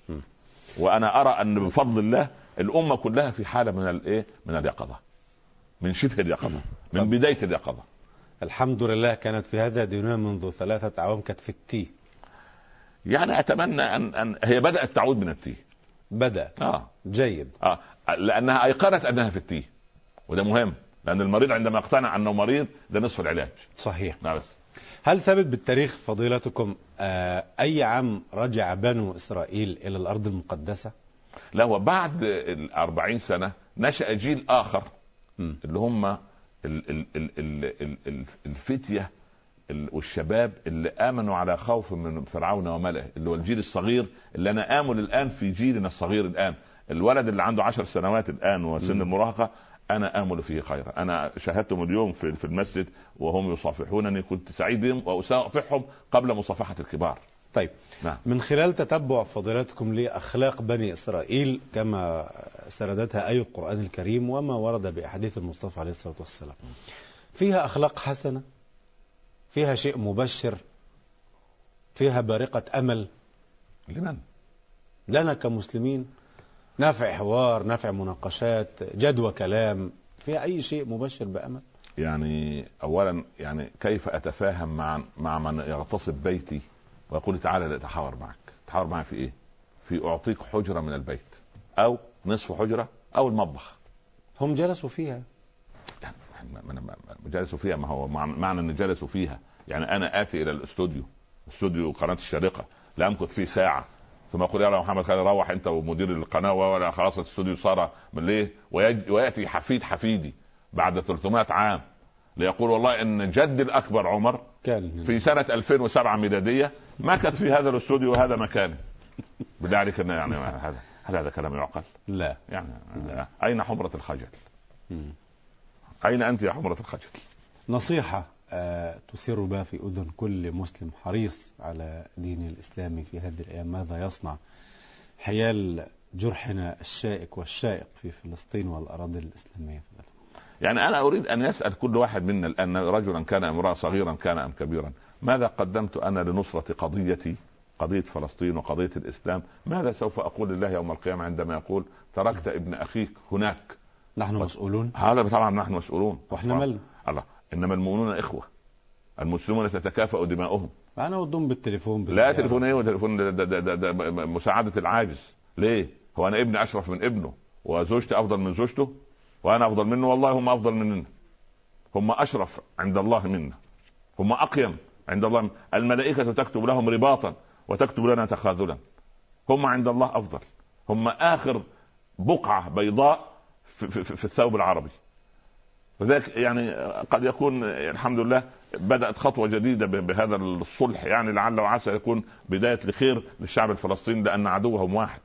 A: م.
B: وانا ارى ان بفضل الله الامه كلها في حاله من الايه؟ من اليقظه. من شبه اليقظه، من
A: طب.
B: بدايه اليقظه.
A: الحمد لله كانت في هذا ديننا منذ ثلاثه اعوام كانت في التي
B: يعني اتمنى ان ان هي بدات تعود من التيه.
A: بدا
B: اه
A: جيد
B: اه لانها ايقنت انها في التيه وده مهم لان المريض عندما اقتنع انه مريض ده نصف العلاج
A: صحيح
B: لا بس
A: هل ثبت بالتاريخ فضيلتكم آه اي عام رجع بنو اسرائيل الى الارض المقدسه
B: لا هو بعد ال 40 سنه نشا جيل اخر
A: مم.
B: اللي هم ال ال ال ال ال ال الفتيه ال- والشباب اللي امنوا على خوف من فرعون وملئه اللي هو الجيل الصغير اللي انا امل الان في جيلنا الصغير الان الولد اللي عنده عشر سنوات الان وسن
A: مم.
B: المراهقه انا امل فيه خيرا انا شاهدتهم اليوم في في المسجد وهم يصافحونني كنت سعيد بهم واصافحهم قبل مصافحه الكبار
A: طيب
B: نعم.
A: من خلال تتبع فضيلتكم لأخلاق بني إسرائيل كما سردتها أي القرآن الكريم وما ورد بأحاديث المصطفى عليه الصلاة والسلام فيها أخلاق حسنة فيها شيء مبشر فيها بارقة أمل
B: لمن؟
A: لنا كمسلمين نفع حوار نفع مناقشات جدوى كلام فيها أي شيء مبشر بأمل
B: يعني اولا يعني كيف اتفاهم مع مع من يغتصب بيتي ويقول تعالى إيه؟ لاتحاور معك، اتحاور معي في ايه؟ في اعطيك حجره من البيت او نصف حجره او المطبخ
A: هم جلسوا فيها
B: لا، ما- ما- ما- ما- جلسوا فيها ما هو مع- معنى ان جلسوا فيها يعني انا اتي الى الاستوديو استوديو قناه الشارقه لا امكث فيه ساعه ثم اقول يلا يا محمد خلينا روح انت ومدير القناه ولا خلاص الاستوديو صار من ليه ويج- وياتي حفيد حفيدي بعد 300 عام ليقول والله ان جدي الاكبر عمر
A: كان
B: في سنه 2007 ميلاديه مكث في هذا الاستوديو وهذا مكانه بذلك إن يعني هذا هل هذا كلام يعقل؟
A: لا
B: يعني
A: لا.
B: اين حمره الخجل؟
A: مم.
B: اين انت يا حمره الخجل؟
A: نصيحة آه، تسر بها في أذن كل مسلم حريص على دين الإسلام في هذه الأيام ماذا يصنع حيال جرحنا الشائك والشائق في فلسطين والأراضي الإسلامية في الأرض.
B: يعني انا اريد ان يسال كل واحد منا الان رجلا كان امراه صغيرا كان ام كبيرا ماذا قدمت انا لنصره قضيتي قضيه فلسطين وقضيه الاسلام ماذا سوف اقول لله يوم القيامه عندما يقول تركت ابن اخيك هناك
A: نحن مسؤولون
B: هذا طبعا نحن مسؤولون
A: وإحنا مالنا
B: الله انما المؤمنون اخوه المسلمون تتكافأ دماؤهم
A: أنا ودهم بالتليفون
B: لا
A: بالسيارة.
B: تليفون ايه وتليفون ده ده ده ده ده مساعده العاجز ليه؟ هو انا ابني اشرف من ابنه وزوجتي افضل من زوجته وانا افضل منه والله هم افضل مننا هم اشرف عند الله منا هم اقيم عند الله منا. الملائكه تكتب لهم رباطا وتكتب لنا تخاذلا هم عند الله افضل هم اخر بقعه بيضاء في, في, في الثوب العربي لذلك يعني قد يكون يعني الحمد لله بدات خطوه جديده ب- بهذا الصلح يعني لعل وعسى يكون بدايه لخير للشعب الفلسطيني لان عدوهم واحد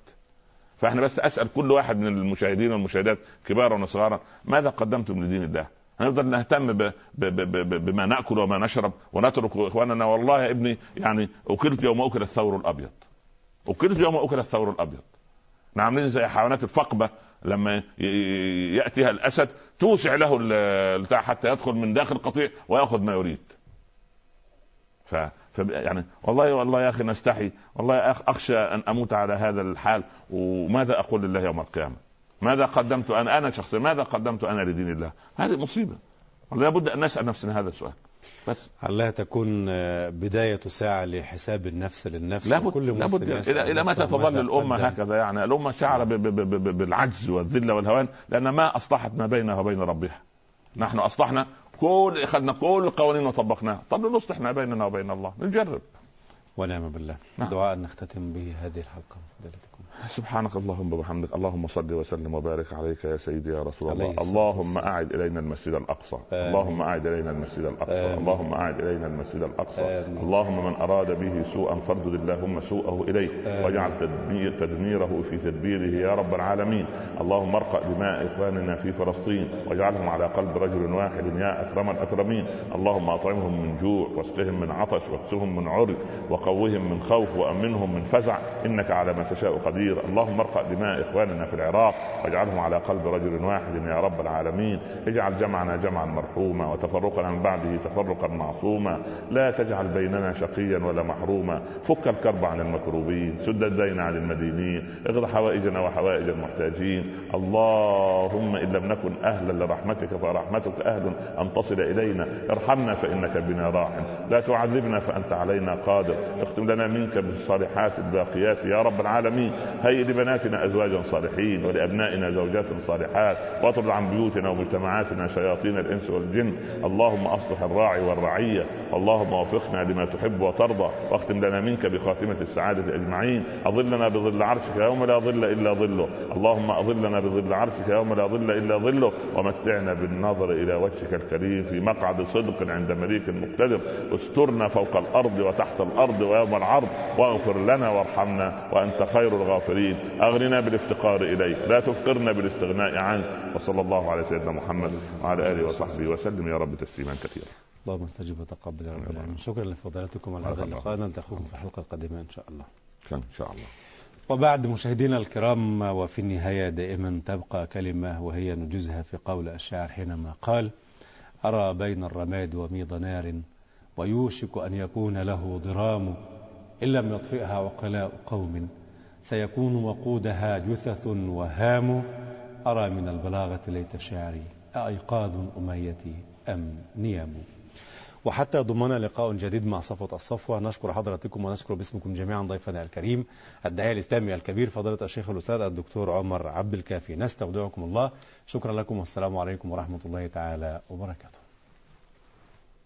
B: فاحنا بس اسال كل واحد من المشاهدين والمشاهدات كبارا وصغارا ماذا قدمتم لدين الله؟ هنفضل نهتم ب... ب... ب... ب... ب... بما ناكل وما نشرب ونترك اخواننا والله يا ابني يعني اكلت يوم اكل الثور الابيض. اكلت يوم اكل الثور الابيض. احنا عاملين زي حيوانات الفقبه لما ي- ي- ياتيها الاسد توسع له ال- البتاع حتى يدخل من داخل القطيع وياخذ ما يريد. ف... ف يعني والله والله يا اخي نستحي والله يا أخ اخشى ان اموت على هذا الحال وماذا اقول لله يوم القيامه؟ ماذا قدمت انا انا شخصيا ماذا قدمت انا لدين الله؟ هذه مصيبه. لابد ان نسال نفسنا هذا السؤال. بس
A: علها تكون آه، بداية ساعة لحساب النفس للنفس
B: لابد
A: وكل مسلم
B: لابد
A: يسأل
B: الى الى متى
A: نفسه
B: تظل
A: ماذا
B: الامه
A: قدم.
B: هكذا يعني الامه شعر ب- ب- ب- ب- بالعجز والذله والهوان لان ما اصلحت ما بينها وبين ربها. نحن اصلحنا كل اخذنا كل القوانين وطبقناها، طب لنصلح ما بيننا وبين الله، نجرب.
A: ونعم بالله
B: نعم.
A: دعاء نختتم به هذه الحلقة فضيلتكم
B: سبحانك اللهم وبحمدك اللهم صل وسلم وبارك عليك يا سيدي يا رسول
A: عليه
B: الله
A: الصلاة
B: اللهم
A: والسلام.
B: اعد الينا المسجد الاقصى
A: آمين.
B: اللهم اعد الينا المسجد الاقصى
A: آمين.
B: اللهم اعد الينا المسجد الاقصى
A: آمين.
B: اللهم من اراد به سوءا فاردد اللهم سوءه اليك
A: آمين.
B: واجعل تدمير تدميره في تدبيره يا رب العالمين اللهم ارقى دماء اخواننا في فلسطين واجعلهم على قلب رجل واحد يا اكرم الاكرمين اللهم اطعمهم من جوع واسقهم من عطش واكسهم من عرج وقوهم من خوف وامنهم من فزع انك على ما تشاء قدير اللهم ارقى دماء اخواننا في العراق واجعلهم على قلب رجل واحد يا رب العالمين اجعل جمعنا جمعا مرحوما وتفرقنا من بعده تفرقا معصوما لا تجعل بيننا شقيا ولا محروما فك الكرب عن المكروبين سد الدين عن المدينين اغض حوائجنا وحوائج المحتاجين اللهم ان لم نكن اهلا لرحمتك فرحمتك اهل ان تصل الينا ارحمنا فانك بنا راحم لا تعذبنا فانت علينا قادر اختم لنا منك بالصالحات الباقيات يا رب العالمين هيئ لبناتنا ازواجا صالحين ولابنائنا زوجات صالحات واطرد عن بيوتنا ومجتمعاتنا شياطين الانس والجن اللهم اصلح الراعي والرعيه اللهم وفقنا لما تحب وترضى واختم لنا منك بخاتمه السعاده اجمعين اظلنا بظل عرشك يوم لا ظل الا ظله اللهم اظلنا بظل عرشك يوم لا ظل الا ظله ومتعنا بالنظر الى وجهك الكريم في مقعد صدق عند مليك مقتدر استرنا فوق الارض وتحت الارض ويوم العرض واغفر لنا وارحمنا وانت خير الغافرين اغننا بالافتقار اليك لا تفقرنا بالاستغناء عنك وصلى الله على سيدنا محمد وعلى اله وصحبه وسلم يا رب تسليما كثيرا
A: اللهم استجب وتقبل يا رب
B: آمين.
A: العالمين شكرا لفضيلتكم على
B: بارك
A: هذا
B: الله.
A: اللقاء نلتقيكم في الحلقة القادمة إن شاء الله
B: ان شاء الله
A: وبعد مشاهدينا الكرام وفي النهاية دائما تبقى كلمة وهي نجزها في قول الشاعر حينما قال أرى بين الرماد وميض نار ويوشك أن يكون له ضرام إن لم يطفئها عقلاء قوم سيكون وقودها جثث وهام أرى من البلاغة ليت شعري أأيقاظ أميتي أم نيام وحتى يضمنا لقاء جديد مع صفوة الصفوة نشكر حضراتكم ونشكر باسمكم جميعا ضيفنا الكريم الداعية الإسلامي الكبير فضيلة الشيخ الأستاذ الدكتور عمر عبد الكافي نستودعكم الله شكرا لكم والسلام عليكم ورحمة الله تعالى وبركاته